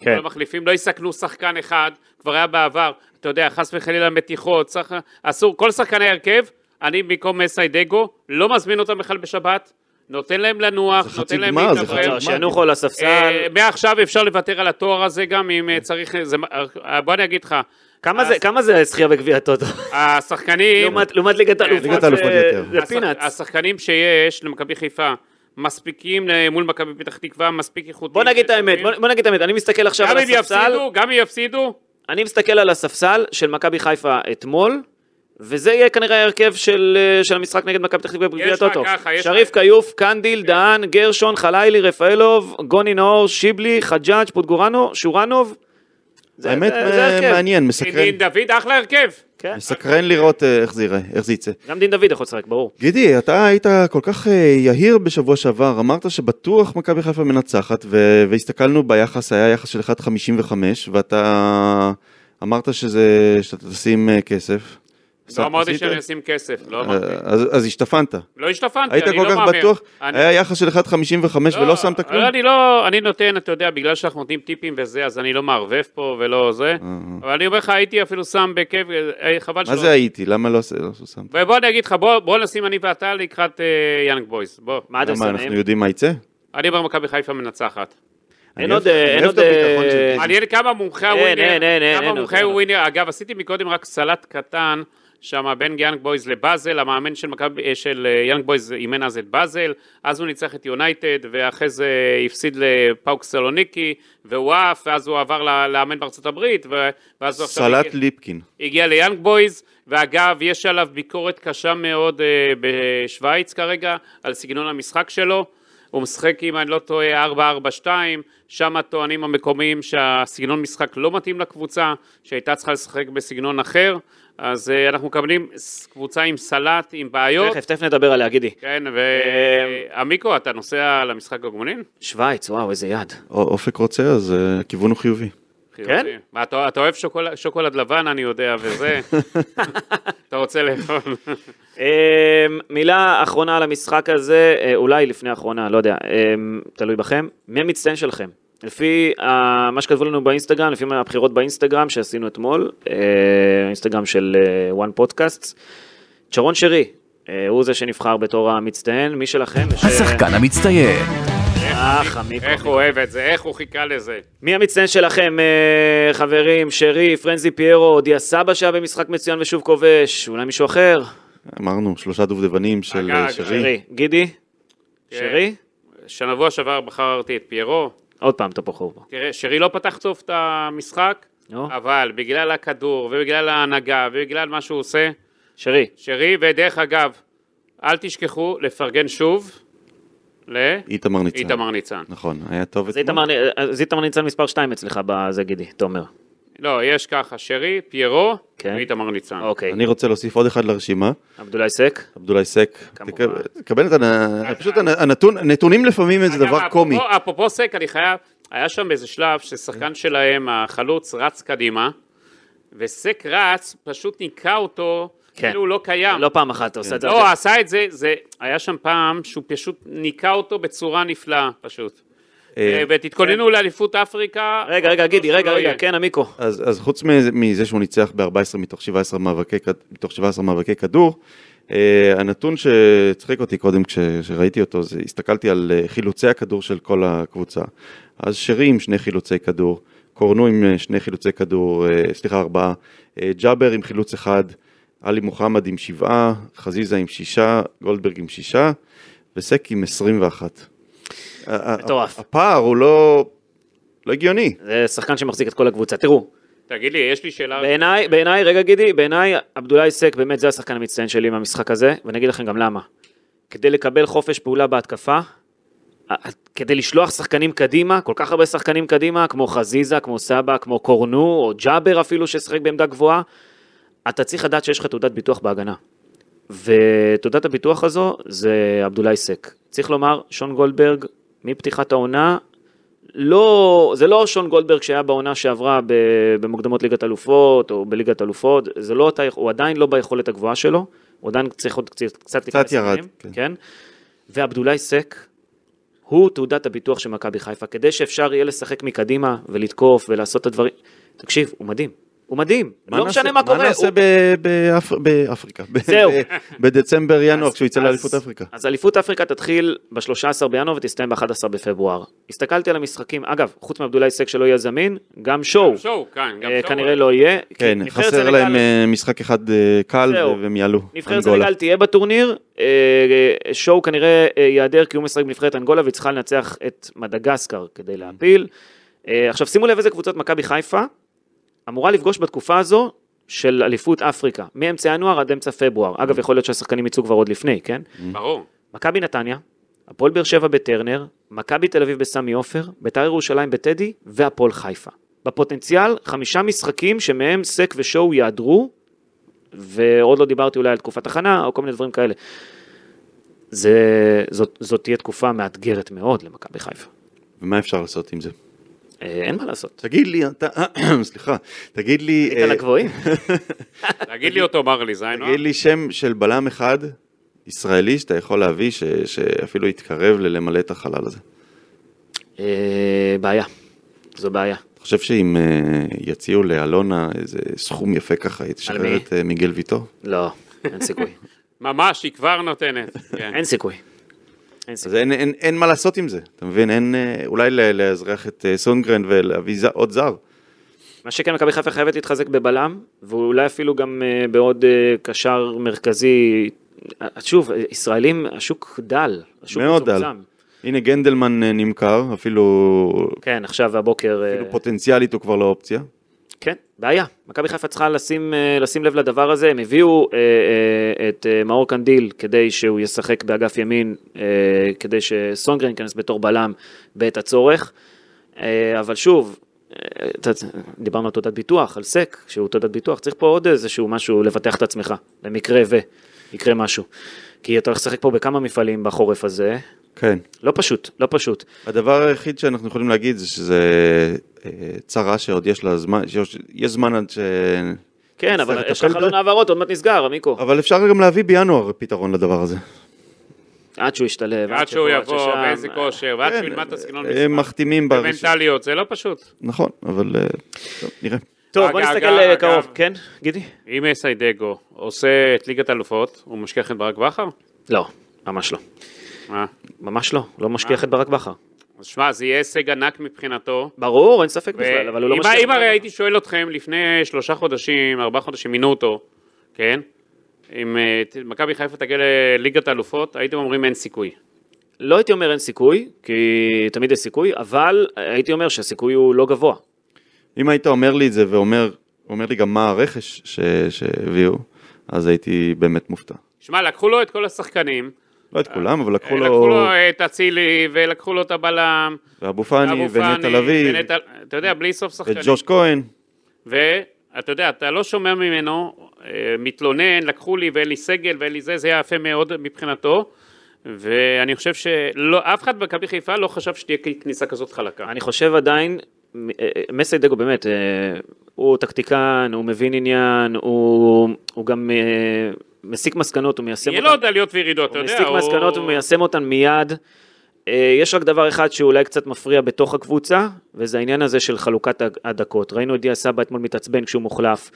Speaker 2: כן.
Speaker 4: כל המחליפים לא יסכנו שחקן אחד, כבר היה בעבר, אתה יודע, חס וחלילה מתיחות, צריך- אסור, כל שחקני ההרכב, אני במקום סיידגו, לא מזמין אותם בכלל בשבת, נותן להם
Speaker 3: זה
Speaker 4: לנוח,
Speaker 3: חצי
Speaker 4: נותן להם
Speaker 3: גמר, זה חצי
Speaker 4: להתאוורר.
Speaker 2: לא, שינוחו על הספסל.
Speaker 4: אה, מעכשיו אפשר לוותר על התואר הזה גם אם אה, צריך, אה, זה- אה, בוא אני אגיד לך,
Speaker 2: כמה זה- כמה זה זכייה בגביע הטוטו?
Speaker 4: השחקנים,
Speaker 2: לעומת- כן. לעומת ליגת
Speaker 4: ליגת
Speaker 2: האלופות
Speaker 3: האלופות
Speaker 2: זה-
Speaker 3: יותר.
Speaker 2: זה
Speaker 4: השח-
Speaker 2: פינאץ.
Speaker 4: השחקנים שיש למכבי חיפה מספיקים אה, מול מכבי פתח תקווה, מספיק איכותיים.
Speaker 2: בוא נגיד את האמת, בוא, בוא נגיד את האמת, אני מסתכל עכשיו
Speaker 4: כן, גם
Speaker 2: על
Speaker 4: אם
Speaker 2: הספסל,
Speaker 4: יפסידו, גם אם יפסידו,
Speaker 2: אני מסתכל על הספסל של מכבי חיפה אתמול, וזה יהיה כנראה ההרכב של, אה, של המשחק נגד מכבי פתח תקווה בגביע
Speaker 4: לך
Speaker 2: הטוטו.
Speaker 4: ככה, יש
Speaker 2: שריף
Speaker 4: לך- כן.
Speaker 2: כיוף, קנדיל, דהן, גרשון, חלילי, רפאלוב, גוני נאור, שיבלי, חג'אג', פוטגורנו, שורנוב. זה-
Speaker 3: האמת,
Speaker 2: זה- זה
Speaker 3: אה,
Speaker 2: ההרכב.
Speaker 3: מעניין, מסקרן.
Speaker 4: דין דוד אחלה הרכב.
Speaker 2: כן.
Speaker 3: מסקרן לראות אה, איך זה ייראה, איך זה יצא.
Speaker 2: גם דין דוד יכול לשחק, ברור.
Speaker 3: גידי, אתה היית כל כך אה, יהיר בשבוע שעבר, אמרת שבטוח מכבי חיפה מנצחת, ו- והסתכלנו ביחס, היה יחס של 1.55, ואתה אמרת שזה, שאתה תשים אה, כסף. עשית-
Speaker 4: לא אמרתי
Speaker 3: עשית?
Speaker 4: שאני אשים כסף, לא
Speaker 3: אה,
Speaker 4: אמרתי.
Speaker 3: אז אז השתפנת.
Speaker 4: לא השתפנתי,
Speaker 3: היית
Speaker 4: אני
Speaker 3: כל
Speaker 4: לא
Speaker 3: כך
Speaker 4: מהמר.
Speaker 3: בטוח,
Speaker 4: אני-
Speaker 3: היה יחס של 1.55
Speaker 4: לא,
Speaker 3: ולא שמת כלום?
Speaker 4: לא, אני לא, אני נותן, אתה יודע, בגלל שאנחנו נותנים טיפים וזה, אז אני לא מערבב פה ולא זה. אבל אני אומר לך, הייתי אפילו שם בכיף, אה, חבל שלא.
Speaker 3: אה, מה זה הייתי? למה לא לא שמת?
Speaker 4: ובוא אני אגיד לך, בוא בוא נשים אני ואתה לקראת אה, יאנג בויז, בוא.
Speaker 2: מה אתם
Speaker 3: למה, אנחנו
Speaker 2: שמים?
Speaker 3: יודעים מה יצא?
Speaker 4: אני אומר מכבי חיפה מנצחת.
Speaker 2: אין
Speaker 3: אני
Speaker 2: עוד...
Speaker 3: אוהב-
Speaker 2: אה,
Speaker 3: אני
Speaker 2: אין עוד...
Speaker 3: אוהב את הביטחון
Speaker 2: אה,
Speaker 3: של גידי.
Speaker 4: מעניין כמה מומחי
Speaker 2: אין, אין, אין,
Speaker 4: הווינר,
Speaker 2: אין,
Speaker 4: כמה
Speaker 2: אין,
Speaker 4: מומחי
Speaker 2: אין עוד.
Speaker 4: הווינר, אגב עשיתי מקודם רק סלט קטן שם בין יאנג בויז לבאזל, המאמן של, מכבי- אה, של אה, יאנג בויז אימן אז את באזל, אז הוא ניצח את יונייטד ואחרי זה הפסיד לפאוק סלוניקי והוא עף ואז הוא עבר ל- לאמן בארצות הברית ו- ואז הוא עכשיו
Speaker 3: סלט
Speaker 4: הגיע-
Speaker 3: ליפקין.
Speaker 4: הגיע ליאנג בויז, ואגב, יש עליו ביקורת קשה מאוד אה, בשוויץ כרגע, על סגנון המשחק שלו. הוא משחק, אם אני לא טועה, 4-4-2, שם הטוענים המקומיים שהסגנון משחק לא מתאים לקבוצה, שהייתה צריכה לשחק בסגנון אחר, אז אה, אנחנו מקבלים ס- קבוצה עם סלט, עם בעיות.
Speaker 2: תכף, תכף נדבר עליה, גידי.
Speaker 4: כן,
Speaker 2: אה,
Speaker 4: ועמיקו, אתה נוסע למשחק הגמונים?
Speaker 2: שווייץ, וואו, איזה יד.
Speaker 3: או- אופק רוצה, אז אה, הכיוון הוא חיובי.
Speaker 2: כן?
Speaker 4: מה, אתה, אתה אוהב שוקולד, שוקולד לבן, אני יודע, וזה. אתה רוצה לאכול.
Speaker 2: אמ, מילה אחרונה על המשחק הזה, אה, אולי לפני האחרונה, לא יודע, אמ, תלוי בכם. מי המצטיין שלכם? לפי ה- מה שכתבו לנו באינסטגרם, לפי הבחירות באינסטגרם שעשינו אתמול, אה, האינסטגרם של אה, one podcast, שרון שרי, אה, הוא זה שנבחר בתור המצטיין, מי שלכם? יש, אה,
Speaker 1: השחקן המצטיין.
Speaker 2: אה, חמיקו.
Speaker 4: איך הוא אוהב את זה, איך הוא חיכה לזה.
Speaker 2: מי המצטיין שלכם, אה, חברים? שרי, פרנזי פיירו, דיה סבא שהיה במשחק מצוין ושוב כובש, אולי מישהו אחר?
Speaker 3: אמרנו, שלושה דובדבנים של
Speaker 4: אגב,
Speaker 3: אה, שרי.
Speaker 2: שרי, גידי?
Speaker 4: כן.
Speaker 2: שרי?
Speaker 4: שנבוע שעבר בחרתי את פיירו.
Speaker 2: עוד פעם אתה בחור פה.
Speaker 4: תראה, שרי לא פתח טוב את המשחק,
Speaker 2: נו,
Speaker 4: אבל בגלל הכדור, ובגלל ההנהגה, ובגלל מה שהוא עושה,
Speaker 2: שרי.
Speaker 4: שרי, ודרך אגב, אל תשכחו לפרגן שוב לאיתמר
Speaker 3: איתמר ניצן.
Speaker 4: ניצן.
Speaker 3: נכון, היה טוב
Speaker 2: אז איתמר נ- אז איתמר ניצן מספר 2 אצלך בזה גידי, תומר.
Speaker 4: לא, יש ככה, שרי, פיירו,
Speaker 2: כן.
Speaker 4: ואיתמר ניצן.
Speaker 2: אוקיי.
Speaker 3: אני רוצה להוסיף עוד אחד לרשימה,
Speaker 2: עבדולאי סק?
Speaker 3: עבדולאי סק.
Speaker 2: כמובן.
Speaker 3: תקב- תקבל את הנ... פשוט הנ- הנתון, נתונים לפעמים זה
Speaker 4: אגב,
Speaker 3: דבר
Speaker 4: אפרופו- אה,
Speaker 3: קומי.
Speaker 4: אפרופו סק, אני חייב, היה שם איזה שלב ששחקן שלהם, החלוץ, רץ קדימה, וסק רץ, פשוט ניקה אותו,
Speaker 2: כן.
Speaker 4: כאילו הוא לא קיים.
Speaker 2: לא פעם אחת אתה עושה את זה.
Speaker 4: לא, הוא עשה את זה, זה, היה שם פעם שהוא פשוט ניקה אותו בצורה נפלאה, פשוט.
Speaker 3: אה,
Speaker 4: ותתכוננו לאליפות אפריקה.
Speaker 2: כן. רגע, רגע, גידי, רגע,
Speaker 4: לא
Speaker 2: רגע,
Speaker 4: יהיה.
Speaker 2: כן, עמיקו.
Speaker 3: אז, אז חוץ מזה, מזה שהוא ניצח ב-14 מתוך 17 מאבקי, כד- מתוך 17 מאבקי כדור, אה, הנתון שצחיק אותי קודם כשראיתי אותו, זה הסתכלתי על אה, חילוצי הכדור של כל הקבוצה. אז שרי עם שני חילוצי כדור, קורנו עם אה, שני חילוצי כדור, אה, סליחה, ארבעה, אה, ג'אבר עם חילוץ אחד, עלי מוחמד עם שבעה, חזיזה עם שישה, גולדברג עם שישה, וסק עם 21.
Speaker 4: אה,
Speaker 2: מטורף.
Speaker 3: הפער הוא לא, לא הגיוני.
Speaker 2: זה שחקן שמחזיק את כל הקבוצה. תראו,
Speaker 4: לא, תגיד לי, יש לי שאלה.
Speaker 2: בעיניי, בעיניי, רגע גידי, בעיניי עבדולאי סק באמת זה השחקן המצטיין שלי מהמשחק הזה, ואני אגיד לכם גם למה. כדי לקבל חופש פעולה בהתקפה, ה- ה- כדי לשלוח שחקנים קדימה, כל כך הרבה שחקנים קדימה, כמו חזיזה, כמו סבא, כמו קורנו, או ג'אבר אפילו ששיחק בעמדה גבוהה, אתה צריך לדעת שיש לך תעודת ביטוח בהגנה. ותעודת הביטוח הזו זה עבדולאי סק. צריך לומר, שון גולדברג, מפתיחת העונה, לא, זה לא שון גולדברג שהיה בעונה שעברה ב- במוקדמות ליגת אלופות או בליגת אלופות, זה לא אותה, הוא עדיין לא ביכולת הגבוהה שלו, הוא עדיין צריך עוד קצת, קצת להיכנס
Speaker 3: ירד,
Speaker 2: לעניינים,
Speaker 3: כן.
Speaker 2: כן. ועבדולאי סק הוא תעודת הביטוח של מכבי חיפה, כדי שאפשר יהיה לשחק מקדימה ולתקוף ולעשות את הדברים, תקשיב, הוא מדהים, הוא מדהים, לא משנה מה קורה,
Speaker 3: מה נעשה
Speaker 2: הוא-
Speaker 3: ב- באפ- באפריקה? ב-
Speaker 2: זהו.
Speaker 3: ב- בדצמבר, ינואר,
Speaker 2: אז-
Speaker 3: כשהוא יצא
Speaker 2: אז-
Speaker 3: לאליפות אפריקה.
Speaker 2: אז אליפות אפריקה תתחיל ב-13 בינואר ותסתיים ב-11 בפברואר. הסתכלתי על המשחקים, אגב, חוץ מעבדולאי סק שלא יהיה זמין, גם שואו,
Speaker 4: שואו, כאן, גם
Speaker 2: אה,
Speaker 4: שואו.
Speaker 2: כנראה לא יהיה. כי
Speaker 3: כן,
Speaker 2: נבחרת
Speaker 3: חסר
Speaker 2: סנגל-
Speaker 3: להם אה, משחק אחד אה, קל
Speaker 2: זהו.
Speaker 3: והם יעלו.
Speaker 2: נבחרת
Speaker 3: אנגולה.
Speaker 2: סנגל תהיה בטורניר, אה, אה, שואו כנראה אה, ייעדר כי הוא משחק בנבחרת אנגולה והיא צריכה לנצח את מדגסקר כדי להפיל. אה, עכשיו שימו לב איזה קבוצת מכבי חיפה אמורה לפגוש בתקופה הזו של אליפות אפריקה, מאמצע ינואר עד אמצע פברואר. אגב, יכול להיות שהשחקנים יצאו כבר עוד לפני, כן?
Speaker 4: ברור.
Speaker 2: מכבי נתניה, הפועל באר שבע בטרנר, מכבי תל אביב בסמי עופר, בית"ר ירושלים בטדי והפועל חיפה. בפוטנציאל חמישה משחקים שמהם סק ושואו יעדרו, ועוד לא דיברתי אולי על תקופת הכנה או כל מיני דברים כאלה. זה, זאת, זאת תהיה תקופה מאתגרת מאוד למכבי חיפה.
Speaker 3: ומה אפשר לעשות עם זה?
Speaker 2: אה, אין מה לעשות.
Speaker 3: תגיד לי, אתה, סליחה, תגיד לי,
Speaker 2: היית על
Speaker 3: אה,
Speaker 2: הגבוהים?
Speaker 4: תגיד לי אותו, מרלי זיינוע.
Speaker 3: תגיד לי שם של בלם אחד ישראלי שאתה יכול להביא, ש- שאפילו יתקרב ללמלא את החלל הזה.
Speaker 2: אה, בעיה. זו בעיה.
Speaker 3: אתה חושב שאם אה, יציעו לאלונה איזה סכום יפה ככה, היא
Speaker 2: מי?
Speaker 3: תשחרר את אה, מיגל ויטור?
Speaker 2: לא, אין סיכוי.
Speaker 4: ממש, היא כבר נותנת. כן.
Speaker 2: אין סיכוי. אין סיכוי.
Speaker 3: אז אין, אין, אין מה לעשות עם זה, אתה מבין? אין, אה, אולי ל- לאזרח את אה, סונגרן ולהביא ז- עוד זר.
Speaker 2: מה שכן, מכבי חיפה חייבת להתחזק בבלם, ואולי אפילו גם אה, בעוד אה, קשר מרכזי. אה, שוב, אה, ישראלים, השוק דל, השוק
Speaker 3: מאוד דל.
Speaker 2: מצומצם.
Speaker 3: הנה גנדלמן אה, נמכר, אפילו,
Speaker 2: כן, עכשיו והבוקר... אה,
Speaker 3: אפילו פוטנציאלית הוא כבר לא אופציה.
Speaker 2: כן, בעיה. מכבי חיפה צריכה לשים, אה, לשים לב לדבר הזה, הם הביאו אה, אה, את אה, מאור קנדיל כדי שהוא ישחק באגף ימין, אה, כדי שסונגרן ייכנס בתור בלם בעת הצורך. אה, אבל שוב, אה, אתה- דיברנו על תעודת ביטוח, על סק, שהוא תעודת ביטוח, צריך פה עוד איזשהו משהו לפתח את עצמך, למקרה ו... יקרה משהו. כי אתה הולך לשחק פה בכמה מפעלים בחורף הזה,
Speaker 3: כן.
Speaker 2: לא פשוט, לא פשוט.
Speaker 3: הדבר היחיד שאנחנו יכולים להגיד זה שזה אה, צרה שעוד יש לה זמן, שיש יש זמן עד ש...
Speaker 2: כן,
Speaker 3: נצטרך
Speaker 2: אבל
Speaker 3: לטפל
Speaker 2: יש לך
Speaker 3: ב-
Speaker 2: חלון העברות, עוד מעט נסגר, עמיקו.
Speaker 3: אבל אפשר גם להביא בינואר פתרון לדבר הזה.
Speaker 2: עד שהוא ישתלב,
Speaker 4: ועד שהוא
Speaker 2: שפה,
Speaker 4: יבוא
Speaker 2: ששם. אה,
Speaker 4: באיזה כושר, ועד
Speaker 3: כן,
Speaker 4: שהוא ילמד את הסגנון
Speaker 3: אה,
Speaker 4: משחק.
Speaker 3: מחתימים בראשון.
Speaker 4: ומנטליות, זה לא פשוט.
Speaker 3: נכון, אבל אה, טוב, נראה.
Speaker 2: טוב,
Speaker 4: אגב,
Speaker 2: בוא נסתכל
Speaker 4: אגב,
Speaker 2: אה,
Speaker 4: אגב.
Speaker 2: קרוב, כן, גידי?
Speaker 4: אם סיידגו עושה את ליגת אלופות, הוא משכיח את ברק בכר?
Speaker 2: לא, ממש לא.
Speaker 4: אה.
Speaker 2: ממש לא, לא משכיח את ברק בכר.
Speaker 4: אז שמע, זה יהיה הישג ענק מבחינתו.
Speaker 2: ברור, אין ספק
Speaker 4: ו-
Speaker 2: בכלל, אבל הוא לא
Speaker 4: אם-
Speaker 2: משכיח. את
Speaker 4: אם
Speaker 2: ברק
Speaker 4: הרי
Speaker 2: בכר.
Speaker 4: הייתי שואל אתכם לפני שלושה חודשים, ארבעה חודשים, מינו אותו, כן? אם אה, ת- מכבי חיפה תגיע לליגת אלופות, הייתם אומרים אין סיכוי.
Speaker 2: לא הייתי אומר אין סיכוי, כי תמיד יש סיכוי, אבל הייתי אומר שהסיכוי הוא לא גבוה.
Speaker 3: אם היית אומר לי את זה ואומר אומר לי גם מה הרכש ש- שהביאו, אז הייתי באמת מופתע.
Speaker 4: שמע, לקחו לו את כל השחקנים,
Speaker 3: לא את כולם, אבל לקחו
Speaker 4: אה, לקחו
Speaker 3: לו
Speaker 4: לו אה, את אצילי, ולקחו לו את הבלם,
Speaker 3: ואבו פאני
Speaker 4: אבו פאני,
Speaker 3: ונטע לביא,
Speaker 4: ונטע- אתה יודע, בלי סוף
Speaker 3: ואת
Speaker 4: שחקנים.
Speaker 3: ג'וש כהן.
Speaker 4: ואתה יודע, אתה לא שומע ממנו, אה, מתלונן, לקחו לי ואין לי סגל ואין לי זה, זה היה יפה מאוד מבחינתו. ואני חושב שאף אחד במכבי חיפה לא חשב שתהיה כניסה כזאת חלקה.
Speaker 2: אני חושב עדיין מ- אה, אה, מסי דגו באמת, אה, הוא טקטיקן, הוא מבין עניין, הוא הוא גם אה, מסיק מסקנות, הוא מיישם
Speaker 4: יהיה לו עוד עליות וירידות, אתה
Speaker 2: הוא
Speaker 4: יודע.
Speaker 2: מסיק מסקנות ומיישם אותן מיד. אה, יש רק דבר אחד שאולי קצת מפריע בתוך הקבוצה, וזה העניין הזה של חלוקת הד- הדקות. ראינו את דיה סבא אתמול מתעצבן כשהוא מוחלף.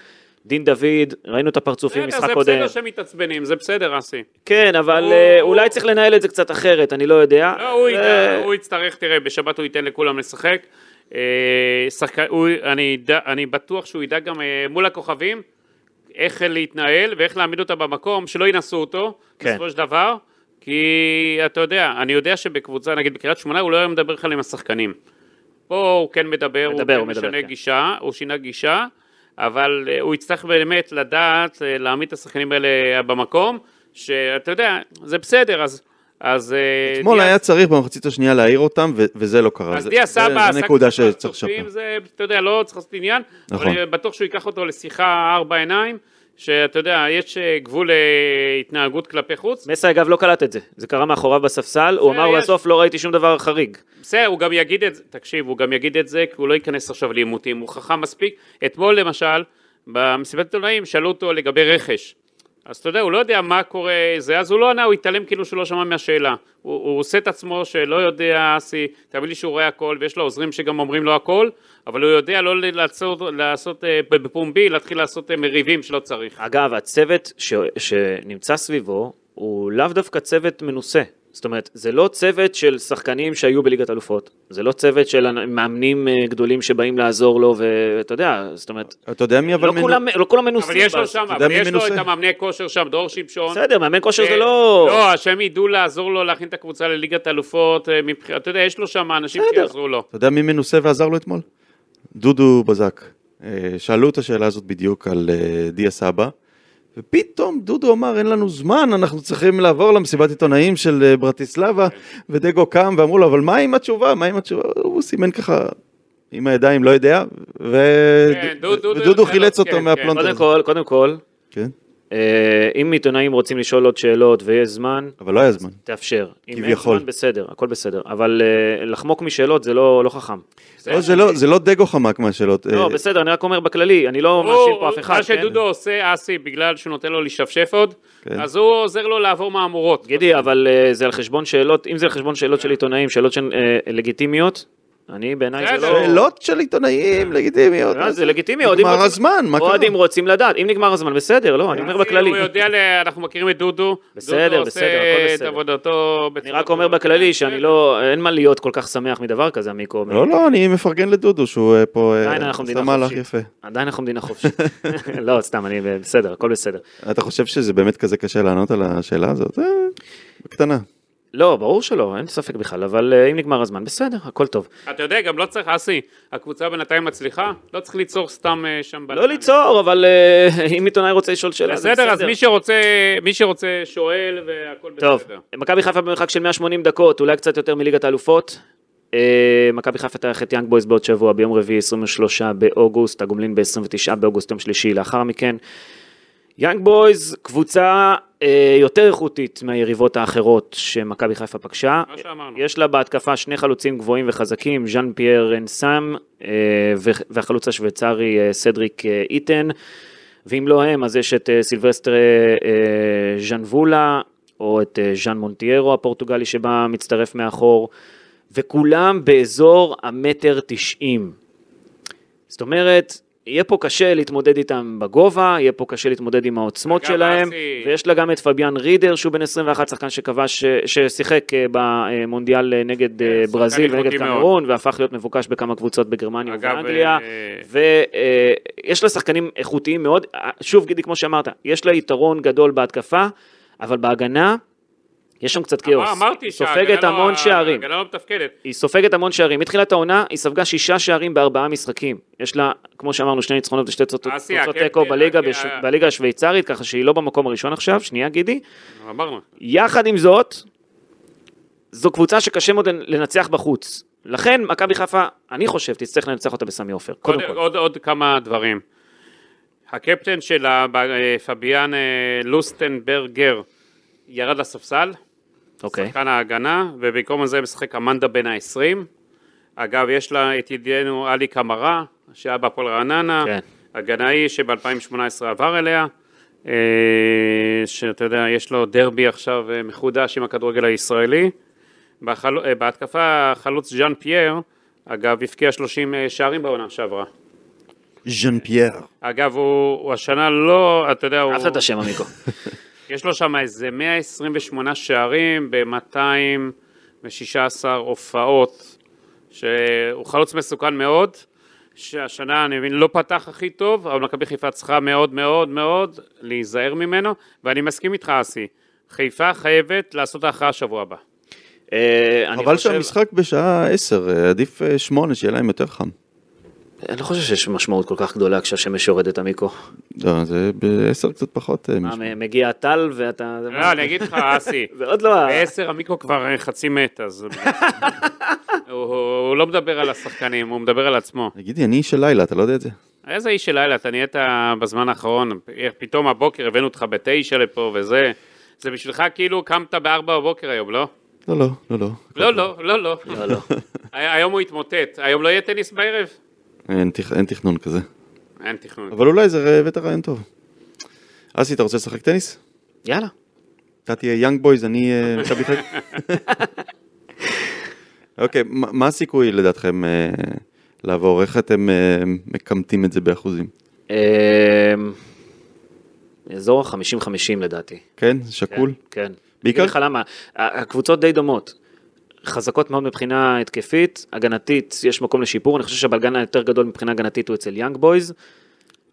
Speaker 2: דין דוד, ראינו את הפרצופים
Speaker 4: בסדר,
Speaker 2: משחק
Speaker 4: אה, זה
Speaker 2: קודם.
Speaker 4: בסדר שהם מתעצבנים, זה בסדר, אסי.
Speaker 2: כן, אבל
Speaker 4: הוא-
Speaker 2: אה,
Speaker 4: הוא-
Speaker 2: אולי צריך לנהל את זה קצת אחרת, אני לא יודע.
Speaker 4: לא, הוא,
Speaker 2: אה,
Speaker 4: ידע, הוא יצטרך, תראה, בשבת הוא ייתן לכולם לשחק. אה, שחק... הוא, אני, ידע, אני בטוח שהוא ידע גם אה, מול הכוכבים איך להתנהל ואיך להעמיד אותה במקום, שלא ינסו אותו,
Speaker 2: כן.
Speaker 4: כן. בסופו של דבר. כי אתה יודע, אני יודע שבקבוצה, נגיד בקריית שמונה, הוא לא היה מדבר בכלל עם השחקנים. פה הוא כן מדבר,
Speaker 2: מדבר,
Speaker 4: הוא
Speaker 2: הוא
Speaker 4: כן
Speaker 2: מדבר,
Speaker 4: משנה
Speaker 2: כן.
Speaker 4: גישה, הוא שינה גישה, אבל אה, הוא יצטרך באמת לדעת, אה, להעמיד את השחקנים האלה במקום, שאתה יודע, זה בסדר, אז... אז אה,
Speaker 3: אתמול
Speaker 4: דיאס-
Speaker 3: היה צריך במחצית השנייה להעיר אותם, ו- וזה לא קרה.
Speaker 4: אז
Speaker 3: זה-
Speaker 4: דיה
Speaker 3: זה-
Speaker 4: סבא
Speaker 3: זה
Speaker 4: עשה
Speaker 3: נקודה
Speaker 4: קצת
Speaker 3: שצריך
Speaker 4: פרצופים,
Speaker 3: לשפר.
Speaker 4: זה, אתה יודע, לא צריך לעשות עניין.
Speaker 3: נכון.
Speaker 4: נכון. אבל בטוח שהוא ייקח אותו לשיחה ארבע עיניים, שאתה יודע, יש אה, גבול להתנהגות כלפי חוץ.
Speaker 2: מסי אגב לא קלט את זה, זה קרה מאחוריו בספסל, הוא אמר
Speaker 4: יש.
Speaker 2: בסוף לא ראיתי שום דבר חריג.
Speaker 4: בסדר, הוא גם יגיד את זה, תקשיב, הוא גם יגיד את זה, כי הוא לא ייכנס עכשיו לעימותים, הוא חכם מספיק. אתמול למשל, במסיבת עיתונאים, שאלו אותו לגבי רכש. אז אתה יודע, הוא לא יודע מה קורה, זה, אז הוא לא ענה, הוא התעלם כאילו שהוא לא שמע מהשאלה. הוא, הוא עושה את עצמו שלא יודע, אסי, תאמין לי שהוא רואה הכל, ויש לו עוזרים שגם אומרים לו הכל, אבל הוא יודע לא ל- לעשות, לעשות אה, בפומבי, להתחיל לעשות אה, מריבים שלא צריך.
Speaker 2: אגב, הצוות ש... שנמצא סביבו הוא לאו דווקא צוות מנוסה. זאת אומרת, זה לא צוות של שחקנים שהיו בליגת אלופות, זה לא צוות של אנ- מאמנים אה, גדולים שבאים לעזור לו, ואתה יודע, זאת אומרת,
Speaker 3: אתה יודע מי אבל...
Speaker 2: לא
Speaker 3: מנו-
Speaker 2: כולם, לא כולם
Speaker 4: אבל
Speaker 2: מנוסים.
Speaker 4: יש לו
Speaker 2: בס-
Speaker 4: שם,
Speaker 3: אתה יודע
Speaker 4: אבל
Speaker 3: מי
Speaker 4: יש לו
Speaker 3: מנוסה?
Speaker 4: את המאמני כושר שם, דרור שמשון.
Speaker 2: בסדר, מאמן כושר זה
Speaker 4: אה,
Speaker 2: לא...
Speaker 4: לא, שהם ידעו לעזור לו להכין את הקבוצה לליגת אלופות, אה, מבח- אתה יודע, יש לו שם אנשים
Speaker 2: בסדר.
Speaker 4: שיעזרו לו.
Speaker 3: אתה יודע מי מנוסה ועזר לו אתמול? דודו בזק. אה, שאלו את השאלה הזאת בדיוק על אה, דיה סבא, ופתאום דודו אמר, אין לנו זמן, אנחנו צריכים לעבור למסיבת עיתונאים של אה, ברטיסלבה, ודגו קם ואמרו לו, אבל מה עם התשובה? מה עם התשובה? הוא סימן ככה עם הידיים, לא יודע, ו...
Speaker 4: כן, דודו-
Speaker 3: ודודו
Speaker 4: דודו
Speaker 3: חילץ
Speaker 4: שאלות,
Speaker 3: אותו
Speaker 4: כן,
Speaker 3: מהפלונטר.
Speaker 2: קודם
Speaker 3: הזה.
Speaker 2: כל, קודם כל,
Speaker 3: כן,
Speaker 2: אה, אם עיתונאים רוצים לשאול עוד שאלות ויש זמן,
Speaker 3: אבל לא היה זמן.
Speaker 2: תאפשר. אם אין
Speaker 3: כביכול.
Speaker 2: זמן, בסדר, הכל בסדר. אבל אה, לחמוק משאלות זה לא לא חכם.
Speaker 3: לא, זה לא- זה לא דגו חמק מהשאלות.
Speaker 2: לא,
Speaker 3: אה,
Speaker 2: בסדר, אני רק אומר בכללי, אני לא מאשים פה אף אחד.
Speaker 4: מה
Speaker 2: כן?
Speaker 4: שדודו עושה, אסי, בגלל שהוא נותן לו להשפשף עוד,
Speaker 3: כן.
Speaker 4: אז הוא עוזר לו לעבור מהמורות.
Speaker 2: גידי, אבל אה, זה על חשבון שאלות, אם זה על חשבון שאלות של עיתונאים, שאלות שהן אה, לגיטימיות, אני בעיניי זה
Speaker 4: בסדר.
Speaker 2: לא...
Speaker 3: שאלות של עיתונאים לגיטימיות.
Speaker 2: אה, זה לגיטימי, אוהדים
Speaker 3: נגמר
Speaker 2: רוצים-
Speaker 3: הזמן, מה קרה? אוקיי,
Speaker 2: אוהדים רוצים לדעת, אם נגמר הזמן, בסדר, לא, אני אומר
Speaker 4: אסי,
Speaker 2: בכללי.
Speaker 4: הוא יודע, ל- אנחנו מכירים את דודו.
Speaker 2: בסדר,
Speaker 4: דודו
Speaker 2: בסדר, הכל
Speaker 4: עושה
Speaker 2: בסדר.
Speaker 4: את עבודתו
Speaker 2: אני
Speaker 4: בצורה
Speaker 2: רק אומר
Speaker 4: טובה. כן.
Speaker 2: בכללי שאני לא, אין מה להיות כל כך שמח מדבר כזה, עמיקו.
Speaker 3: לא, לא, אני מפרגן לדודו שהוא אה, פה אה,
Speaker 2: עדיין אנחנו
Speaker 3: עשה
Speaker 2: מדינה
Speaker 3: מהלך
Speaker 2: חופשית.
Speaker 3: יפה.
Speaker 2: עדיין אנחנו מדינה חופשית. לא, סתם, אני בסדר, הכל בסדר.
Speaker 3: אתה חושב שזה באמת כזה קשה לענות על השאלה הזאת? אה, בקטנה.
Speaker 2: לא, ברור שלא, אין ספק בכלל, אבל אה, אם נגמר הזמן, בסדר, הכל טוב.
Speaker 4: אתה יודע, גם לא צריך, אסי, הקבוצה בינתיים מצליחה, לא צריך ליצור סתם אה, שם
Speaker 2: לא
Speaker 4: בלגן.
Speaker 2: ליצור, אבל אה, אם עיתונאי רוצה לשאול שאלה, זה
Speaker 4: בסדר,
Speaker 2: בסדר.
Speaker 4: אז מי שרוצה, מי שרוצה שואל והכל בסדר.
Speaker 2: טוב, מכבי חיפה במרחק של 180 דקות, אולי קצת יותר מליגת האלופות. אה, מכבי חיפה תארח את יאנג בויז בעוד שבוע, ביום רביעי 23 באוגוסט, הגומלין ב-29 באוגוסט, יום שלישי לאחר מכן. יאנג בויז, קבוצה אה, יותר איכותית מהיריבות האחרות שמכבי חיפה פגשה. אה,
Speaker 4: מה שאמרנו.
Speaker 2: יש לה בהתקפה שני חלוצים גבוהים וחזקים, ז'אן פייר אנסאם אה, ו- והחלוץ השוויצרי אה, סדריק אה, איטן. ואם לא הם, אז יש את אה, סילבסטר אה, ז'אן וולה, או את אה, ז'אן מונטיירו הפורטוגלי שבא מצטרף מאחור, וכולם באזור המטר תשעים. זאת אומרת, יהיה פה קשה להתמודד איתם בגובה, יהיה פה קשה להתמודד עם העוצמות
Speaker 4: אגב,
Speaker 2: שלהם,
Speaker 4: אסי-
Speaker 2: ויש לה גם את פביאן רידר, שהוא בן 21, שחקן שכבש, ששיחק אה, במונדיאל אה, נגד אה,
Speaker 4: כן, שחקן
Speaker 2: ברזיל ונגד
Speaker 4: איכותי מאוד.
Speaker 2: קמרון, והפך להיות מבוקש בכמה קבוצות בגרמניה
Speaker 4: אגב,
Speaker 2: ובאנגליה.
Speaker 4: אה,
Speaker 2: ויש לה שחקנים איכותיים מאוד, אה, שוב גידי כמו שאמרת, יש לה יתרון גדול בהתקפה, אבל בהגנה יש שם קצת כאוס.
Speaker 4: אמר- אה, אמרתי לא-
Speaker 2: היא סופגת המון שערים,
Speaker 4: ההגנה לא מתפקדת.
Speaker 2: היא סופגת המון שערים, מתחילת העונה היא ספגה שישה שערים בארבעה משחקים, יש לה, כמו שאמרנו, שני ניצחונות ושתי תוצאות
Speaker 4: אסי,
Speaker 2: תוצאות
Speaker 4: הקפטן,
Speaker 2: תיקו בליגה
Speaker 4: הקפטן.
Speaker 2: בש- בליגה השוויצרית, ככה שהיא לא במקום הראשון עכשיו, שנייה גידי,
Speaker 4: אמרנו.
Speaker 2: יחד עם זאת, זו קבוצה שקשה מאוד לנצח בחוץ. לכן, מכבי חיפה, אני חושב, תצטרך לנצח אותה בסמי עופר, קודם
Speaker 4: עוד,
Speaker 2: כל.
Speaker 4: עוד, עוד כמה דברים. הקפטן שלה, ב- אה, פביאן אה, לוסטנברגר, ירד לספסל,
Speaker 2: אוקיי.
Speaker 4: שחקן ההגנה, ובמקום זה משחק אמנדה בן ה-20. אגב, יש לה את ידידנו עלי קמרה, שהיה בהפועל רעננה,
Speaker 2: כן.
Speaker 4: הגנאי שב-2018 עבר אליה, אה, שאתה יודע, יש לו דרבי עכשיו אה, מחודש עם הכדורגל הישראלי. בחל... אה, בהתקפה החלוץ ז'אן פייר, אגב, הבקיע 30 אה, שערים בעונה שעברה.
Speaker 3: ז'אן פייר.
Speaker 4: אגב, הוא, הוא השנה לא, אתה יודע, הוא,
Speaker 2: אהבת את השם, עמיקו.
Speaker 4: יש לו שם איזה 128 שערים ב-216 הופעות, שהוא חלוץ מסוכן מאוד, שהשנה, אני מבין, לא פתח הכי טוב, אבל מכבי חיפה צריכה מאוד מאוד מאוד להיזהר ממנו, ואני מסכים איתך, אסי, חיפה חייבת לעשות את ההכרעה שבוע הבא.
Speaker 2: אה, אני
Speaker 3: חבל
Speaker 2: חושב-
Speaker 3: שהמשחק בשעה 10, אה, עדיף אה, 8, שיהיה להם יותר חם.
Speaker 2: אני לא חושב שיש משמעות כל כך גדולה כשהשמש יורדת, עמיקו.
Speaker 3: לא, זה ב-10 קצת פחות. אה,
Speaker 2: מה,
Speaker 3: משמעות.
Speaker 2: מ- מגיע הטל ואתה...
Speaker 4: לא, אני אגיד לך, אסי,
Speaker 2: זה עוד לא... ה-
Speaker 4: בעשר המיקרו כבר אה, חצי מת, אז... הוא, הוא, הוא לא מדבר על השחקנים, הוא מדבר על עצמו.
Speaker 3: תגידי, אני איש של לילה, אתה לא יודע את זה?
Speaker 4: איזה איש של לילה, אתה נהיית בזמן האחרון, איך פתאום הבוקר הבאנו אותך בתשע לפה וזה, זה בשבילך כאילו קמת בארבע בבוקר היום, לא?
Speaker 3: לא, לא, לא, לא.
Speaker 4: לא, לא, לא, לא.
Speaker 2: לא, לא.
Speaker 4: היום הוא יתמוטט, היום לא יהיה טניס בערב?
Speaker 3: אין תכ- אין תכנון כזה.
Speaker 4: אין תכנון.
Speaker 3: אבל אולי זה ראה- הבאת רעיון טוב. אסי, אתה רוצה לשחק טניס?
Speaker 2: יאללה.
Speaker 3: אתה תהיה יאנג בויז, אני אה, מכבי חיפה. אוקיי, מה מה הסיכוי לדעתכם אה, לעבור? איך אתם אה, מקמטים את זה באחוזים?
Speaker 2: אמ, אזור ה-50-50 לדעתי.
Speaker 3: כן? זה שקול?
Speaker 2: כן. כן.
Speaker 3: בעיקר-
Speaker 2: בעיקר... לך למה, ה- הקבוצות די דומות. חזקות מאוד מבחינה התקפית, הגנתית, יש מקום לשיפור, אני חושב שהבלגן היותר גדול מבחינה הגנתית הוא אצל יאנג בויז.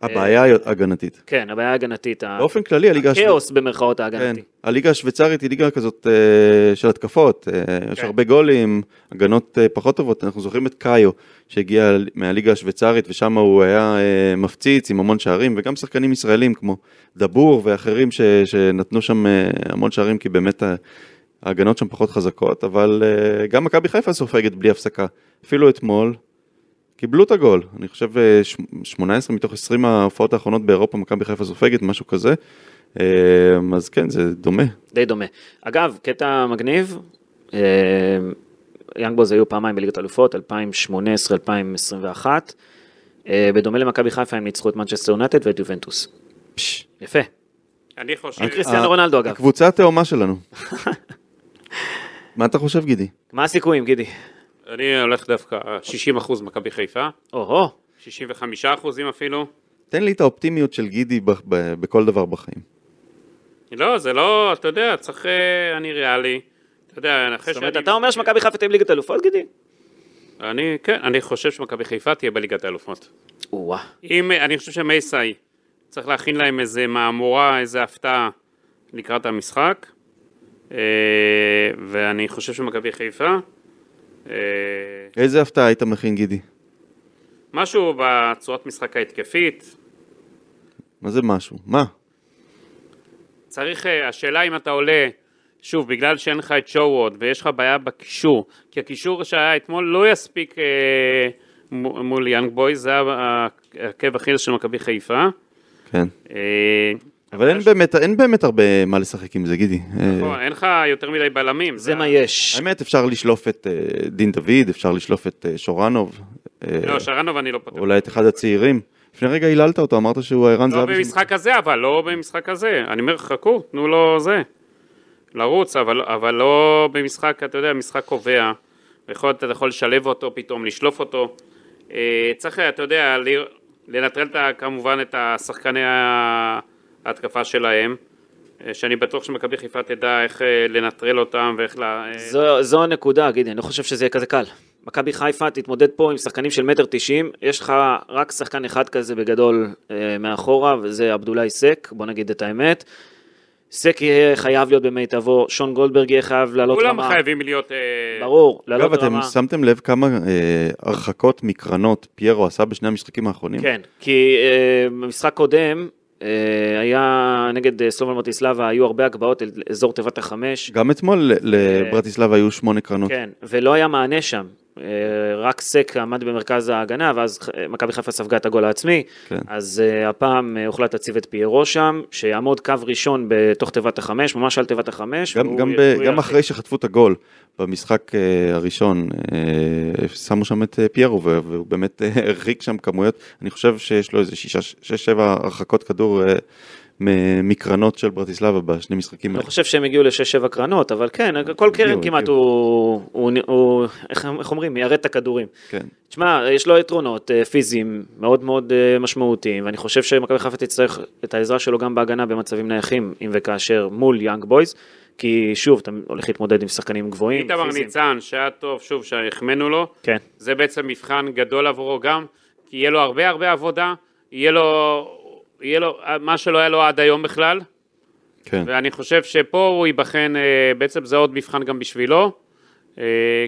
Speaker 3: הבעיה היא הגנתית.
Speaker 2: כן, הבעיה ההגנתית, ה-
Speaker 3: באופן כללי, הליגה השביעית-
Speaker 2: הכאוס במרכאות
Speaker 3: כן.
Speaker 2: ההגנתי.
Speaker 3: הליגה השוויצרית היא ליגה כזאת אה, של התקפות, אה, יש
Speaker 4: כן.
Speaker 3: הרבה גולים, הגנות אה, פחות טובות, אנחנו זוכרים את קאיו שהגיע ל- מהליגה השוויצרית ושם הוא היה אה, מפציץ עם המון שערים וגם שחקנים ישראלים כמו דבור ואחרים ש, שנתנו שם אה, המון שערים כי באמת ה- ההגנות שם פחות חזקות, אבל אה, גם מכבי חיפה סופגת בלי הפסקה, אפילו אתמול. קיבלו את הגול, אני חושב אה, ש- 18 מתוך 20 ההופעות האחרונות באירופה מכבי חיפה סופגת, משהו כזה. אמ, אז כן, זה דומה.
Speaker 2: די דומה. אגב, קטע מגניב, אה, יאנג בוז היו פעמיים בליגת אלופות, 2018-2021, אה, בדומה למכבי חיפה הם ניצחו את מנצ'סטר יונטד ואת יובנטוס.
Speaker 3: פש,
Speaker 2: יפה.
Speaker 4: אני חושב...
Speaker 2: עם קריסטיאנו רונלדו אגב.
Speaker 3: הקבוצה התאומה שלנו. מה אתה חושב, גידי?
Speaker 2: מה הסיכויים, גידי?
Speaker 4: אני הולך דווקא 60% מכבי חיפה,
Speaker 2: או-הו,
Speaker 4: 65% אפילו.
Speaker 3: תן לי את האופטימיות של גידי ב- ב- בכל דבר בחיים.
Speaker 4: לא, זה לא, אתה יודע, צריך... אה, אני ריאלי. אתה יודע, אחרי
Speaker 2: זאת
Speaker 4: שאני...
Speaker 2: אומרת, אתה אומר שמכבי חיפה תהיה בליגת אלופות, גידי?
Speaker 4: אני, כן, אני חושב שמכבי חיפה תהיה בליגת האלופות.
Speaker 2: או-אה.
Speaker 4: אם, אני חושב שמייסאי צריך להכין להם איזה מהמורה, איזה הפתעה לקראת המשחק, אה, ואני חושב שמכבי חיפה, אה,
Speaker 3: איזה הפתעה היית מכין, גידי?
Speaker 4: משהו בצורת משחק ההתקפית,
Speaker 3: מה זה משהו? מה?
Speaker 4: צריך, אה, השאלה אם אתה עולה, שוב, בגלל שאין לך את שואווד ויש לך בעיה בקישור, כי הקישור שהיה אתמול לא יספיק אה, מ- מול יאנג בוי, זה היה העקב אכילס של מכבי חיפה.
Speaker 3: כן.
Speaker 4: אה,
Speaker 3: אבל אין באמת, אין באמת הרבה מה לשחק עם זה, גידי. אה,
Speaker 4: נכון, אין לך יותר מדי בלמים.
Speaker 2: זה מה יש.
Speaker 3: האמת, אפשר לשלוף את אה, דין דוד, אפשר לשלוף את אה, שורנוב. אה,
Speaker 4: לא, שרנוב אני לא פותח.
Speaker 3: אולי את אחד הצעירים. לפני רגע היללת אותו, אמרת שהוא הערן
Speaker 4: לא
Speaker 3: זהבי. של-
Speaker 4: במשחק הזה, אבל לא במשחק הזה. אני אומר, חכו, תנו לו זה. לרוץ, אבל, אבל לא במשחק, אתה יודע, משחק קובע. יכול להיות, אתה יכול לשלב אותו פתאום, לשלוף אותו. אה, צריך, אתה יודע, ל- לנטרל את ה- כמובן את השחקני ההתקפה שלהם, אה, שאני בטוח שמכבי חיפה תדע איך אה, לנטרל אותם ואיך ל... אה,
Speaker 2: זו- זו הנקודה, גידי, אני לא חושב שזה יהיה כזה קל. מכבי חיפה תתמודד פה עם שחקנים של מטר תשעים, יש לך רק שחקן אחד כזה בגדול אה, מאחורה, וזה עבדולאי סק, בוא נגיד את האמת. סק יהיה חייב להיות במיטבו, שון גולדברג יהיה חייב לעלות
Speaker 3: לא
Speaker 4: כולם
Speaker 2: רמה.
Speaker 4: חייבים להיות... אה,
Speaker 2: ברור, לעלות
Speaker 3: אגב, אתם
Speaker 2: רמה.
Speaker 3: שמתם לב כמה אה, הרחקות מקרנות פיירו עשה בשני המשחקים האחרונים?
Speaker 2: כן, כי אה, במשחק קודם אה, היה נגד אה, סלובן ברטיסלבה, היו הרבה הגבהות אל אזור תיבת החמש. אה,
Speaker 3: גם אתמול לברטיסלב היו שמונה קרנות.
Speaker 2: כן, ולא היה מענה שם. אה, רק סק עמד במרכז ההגנה, ואז אה, מכבי חיפה ספגה את הגול העצמי.
Speaker 3: כן.
Speaker 2: אז אה, הפעם אה, הוחלט להציב את פיירו שם, שיעמוד קו ראשון בתוך תיבת החמש, ממש על תיבת החמש.
Speaker 3: גם,
Speaker 2: והוא-
Speaker 3: גם, ב,
Speaker 2: כן, הוא ירחיק.
Speaker 3: גם אחרי שחטפו את הגול במשחק אה, הראשון, אה, שמו שם את אה, פיירו, וה- והוא באמת אה, הרחיק שם כמויות, אני חושב שיש לו איזה שישה, שש, שבע הרחקות כדור אה, מ- מקרנות של ברטיסלבה בשני משחקים
Speaker 2: אני
Speaker 3: האלה.
Speaker 2: לא חושב שהם הגיעו לשש-שבע קרנות, אבל כן, כל קרן
Speaker 3: הגיעו.
Speaker 2: כמעט הוא, הוא- הוא- איך- איך אומרים, מיירט את הכדורים.
Speaker 3: כן.
Speaker 2: תשמע, יש לו יתרונות אה, פיזיים מאוד מאוד אה, משמעותיים, ואני חושב שמכבי חיפה תצטרך את העזרה שלו גם בהגנה במצבים נייחים, אם וכאשר מול יאנג בויז, כי שוב, אתה הולך להתמודד עם שחקנים גבוהים.
Speaker 4: איתמר
Speaker 2: פיזיים.
Speaker 4: ניצן, שהיה טוב, שוב, שהחמאנו לו,
Speaker 2: כן.
Speaker 4: זה בעצם מבחן גדול עבורו גם, כי יהיה לו הרבה הרבה עבודה, יהיה לו, יהיה לו מה שלא היה לו עד היום בכלל,
Speaker 3: כן.
Speaker 4: ואני חושב שפה הוא ייבחן, אה, בעצם זה עוד מבחן גם בשבילו, אה,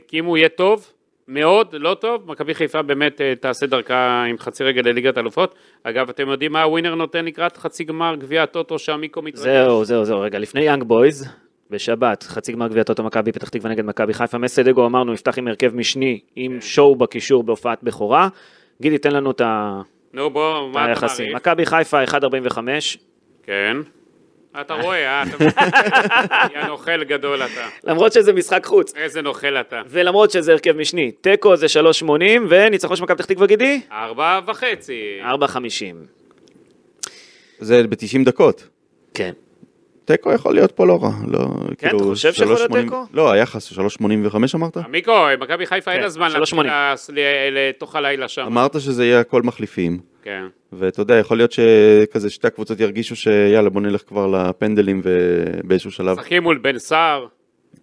Speaker 4: כי אם הוא יהיה טוב, מאוד, לא טוב, מכבי חיפה באמת אה, תעשה דרכה עם חצי רגל לליגת אלופות. אגב, אתם יודעים מה הווינר נותן לקראת חצי גמר גביע הטוטו שהמיקרו מתרגש?
Speaker 2: זהו, זהו, זהו, רגע, לפני יאנג בויז, בשבת, חצי גמר גביע טוטו מכבי פתח תקווה נגד מכבי חיפה, מסיידגו אמרנו, יפתח עם הרכב משני, עם
Speaker 4: כן.
Speaker 2: שואו בקישור בהופעת בכורה. גידי, תן לנו את ה-
Speaker 4: נו בוא,
Speaker 2: את
Speaker 4: מה אתה
Speaker 2: היחסים.
Speaker 4: מעריך?
Speaker 2: מכבי חיפה 1.45,
Speaker 4: כן. אתה רואה, אה? אתה... יא נוכל גדול אתה.
Speaker 2: למרות שזה משחק חוץ.
Speaker 4: איזה נוכל אתה.
Speaker 2: ולמרות שזה הרכב משני, תיקו זה 3.80 וניצחון של מכבי פתח תקווה גידי?
Speaker 4: ארבע וחצי.
Speaker 2: 4.50.
Speaker 3: זה ב-90 דקות.
Speaker 2: כן.
Speaker 3: תיקו יכול להיות פה לא רע. לא,
Speaker 2: כן, אתה חושב שיכול להיות
Speaker 3: 3.80
Speaker 2: תיקו? אה,
Speaker 3: לא, היחס הוא 3.85 אמרת?
Speaker 4: מיקו, מכבי חיפה אין
Speaker 2: כן,
Speaker 4: לה זמן
Speaker 2: שלוש
Speaker 4: להתחיל ל- לתוך הלילה שם.
Speaker 3: אמרת שזה יהיה הכל מחליפים.
Speaker 4: כן.
Speaker 3: ואתה יודע, יכול להיות שכזה שתי הקבוצות ירגישו שיאללה בוא נלך כבר לפנדלים ובאיזשהו שלב.
Speaker 4: משחקים מול בן סער.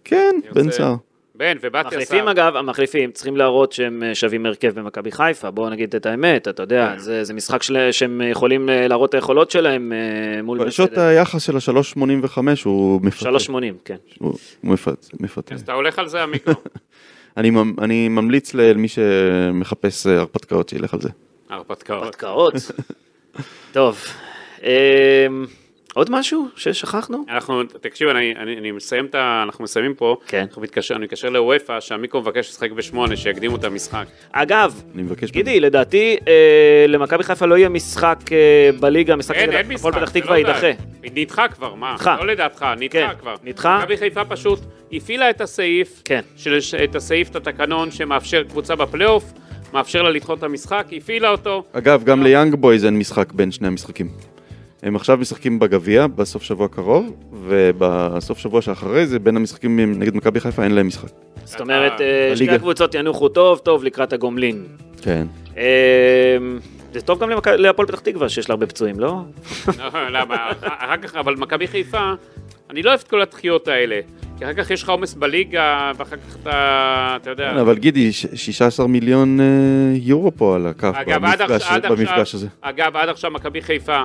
Speaker 3: כן,
Speaker 4: יוצא.
Speaker 3: בן סער.
Speaker 4: בן ובתיה סער.
Speaker 2: המחליפים אגב, המחליפים צריכים להראות שהם אה, שווים הרכב במכבי חיפה, בואו נגיד את האמת, אתה
Speaker 4: כן.
Speaker 2: יודע, זה זה משחק של- שהם יכולים אה, להראות את היכולות שלהם אה, מול...
Speaker 3: פשוט
Speaker 2: מסיידגו.
Speaker 3: היחס של ה-3.85 הוא מפתה.
Speaker 2: 3.80, כן.
Speaker 3: הוא הוא מפת- מפתה.
Speaker 4: כן, אז אתה הולך על זה המיקרו.
Speaker 3: אני ממ- אני ממליץ למי שמחפש אה, הרפתקאות שילך על זה.
Speaker 4: הרפתקאות.
Speaker 2: הרפתקאות. טוב, אה, עוד משהו ששכחנו?
Speaker 4: אנחנו, תקשיב, אני, אני, אני מסיים את ה... אנחנו מסיימים פה.
Speaker 2: כן.
Speaker 4: אנחנו מתקשר, אני מתקשר לאוופא, שהמיקרו מבקש לשחק בשמונה, שיקדימו את המשחק.
Speaker 2: אגב,
Speaker 3: אני מבקש.
Speaker 2: גידי, לדעתי אה, למכבי חיפה לא יהיה משחק אה, בליגה, המשחק
Speaker 4: אין, אין
Speaker 2: נגד
Speaker 4: משחק.
Speaker 2: הפועל פתח
Speaker 4: זה
Speaker 2: תקווה
Speaker 4: לא דעת.
Speaker 2: יידחה.
Speaker 4: נדחה כבר, מה?
Speaker 2: נדחה.
Speaker 4: לא לדעתך, נדחה
Speaker 2: כן,
Speaker 4: כבר.
Speaker 2: נדחה.
Speaker 4: מכבי חיפה פשוט הפעילה את הסעיף,
Speaker 2: כן.
Speaker 4: של, את הסעיף, את התקנון שמאפשר קבוצה בפלייאוף, מאפשר לה לדחות את המשחק, הפעילה אותו.
Speaker 3: אגב, גם ליאנג בויז אין משחק בין שני המשחקים. הם עכשיו משחקים בגביע בסוף שבוע קרוב, ובסוף שבוע שאחרי זה בין המשחקים עם- נגד מכבי חיפה אין להם משחק.
Speaker 2: זאת אומרת, אה, שתי
Speaker 3: הליגה.
Speaker 2: הקבוצות ינוחו טוב טוב לקראת הגומלין.
Speaker 3: כן.
Speaker 2: אה, זה טוב גם למכ- להפועל פתח תקווה, שיש לה הרבה פצועים, לא?
Speaker 4: לא, למה? אח- אחר כך, אבל מכבי חיפה, אני לא אוהב את כל הדחיות האלה. כי אחר כך יש לך עומס בליגה, ואחר כך אתה, אתה יודע.
Speaker 3: כן, אבל גידי, ש- 16 מיליון אה, יורו פה על הכף
Speaker 4: אגב, עד
Speaker 3: במפגש
Speaker 4: עכשיו, עד
Speaker 3: במפגש הזה.
Speaker 4: עכשיו, אגב, עד עכשיו מכבי חיפה,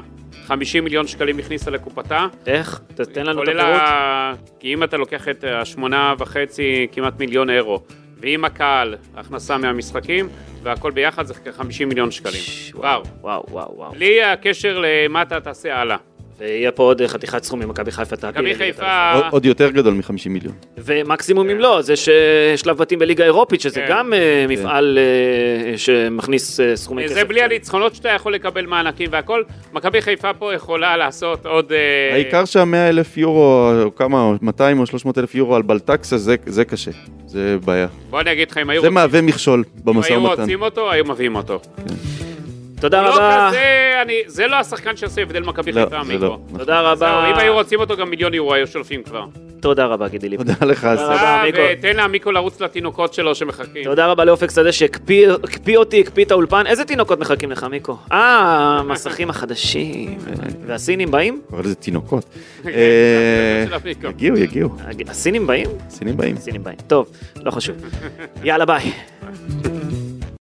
Speaker 4: 50 מיליון שקלים הכניסה לקופתה.
Speaker 2: איך? ת- תן לנו את
Speaker 4: כולל
Speaker 2: הפירוט.
Speaker 4: ה... כי אם אתה לוקח את השמונה וחצי, כמעט מיליון אירו, ועם הקהל, הכנסה מהמשחקים, והכל ביחד זה כ-50 מיליון שקלים. וואו.
Speaker 2: וואו, וואו, וואו.
Speaker 4: בלי הקשר למה אתה תעשה הלאה.
Speaker 2: ויהיה פה עוד אה, חתיכת סכום ממכבי חיפה תעפיל.
Speaker 4: מכבי
Speaker 2: לליגת
Speaker 4: חיפה...
Speaker 3: עוד- עוד יותר גדול מ-50 מיליון.
Speaker 2: ומקסימום אם לא, זה ששלב בתים בליגה האירופית, שזה
Speaker 4: כן.
Speaker 2: גם אה, מפעל אה, שמכניס אה, סכומי כסף.
Speaker 4: זה בלי
Speaker 2: גדולים.
Speaker 4: הניצחונות שאתה יכול לקבל מענקים והכל. מכבי חיפה פה יכולה לעשות עוד... אה,
Speaker 3: העיקר שהמאה אלף יורו, או כמה, או 200 או 300 אלף יורו על בלטקסה, זה- זה קשה. זה בעיה.
Speaker 4: בוא אני אגיד לך, אם היו
Speaker 3: זה
Speaker 4: רוצים-
Speaker 3: מהווה מכשול
Speaker 4: אם
Speaker 3: במשא
Speaker 4: היו
Speaker 3: ומתן.
Speaker 4: רוצים אותו, היו מביאים אותו.
Speaker 2: תודה
Speaker 4: לא
Speaker 2: רבה.
Speaker 4: כזה, אני- זה לא השחקן שעושה הבדל מכבי
Speaker 3: לא,
Speaker 4: חיפה,
Speaker 3: זה לא.
Speaker 4: מיקרו.
Speaker 2: תודה
Speaker 4: זהו,
Speaker 2: רבה.
Speaker 4: אם היו רוצים אותו, גם מיליון יורו היו שולפים כבר.
Speaker 2: תודה רבה, גידי ליפ.
Speaker 3: תודה לך, אז
Speaker 2: רבה.
Speaker 4: אה,
Speaker 2: מיקו.
Speaker 4: ותן לעמיקו לרוץ לתינוקות שלו שמחכים.
Speaker 2: תודה רבה לאופק שדה שהקפיא הקפיא אותי, הקפיא את האולפן. איזה תינוקות מחכים לך, מיקו? אה, המסכים החדשים. והסינים באים?
Speaker 3: אבל איזה תינוקות. אה,
Speaker 4: זה כן, אה, של אפיקו.
Speaker 3: יגיעו, יגיעו.
Speaker 2: הסינים באים?
Speaker 3: סינים באים.
Speaker 2: סינים באים. טוב, לא חשוב. יאללה, ביי.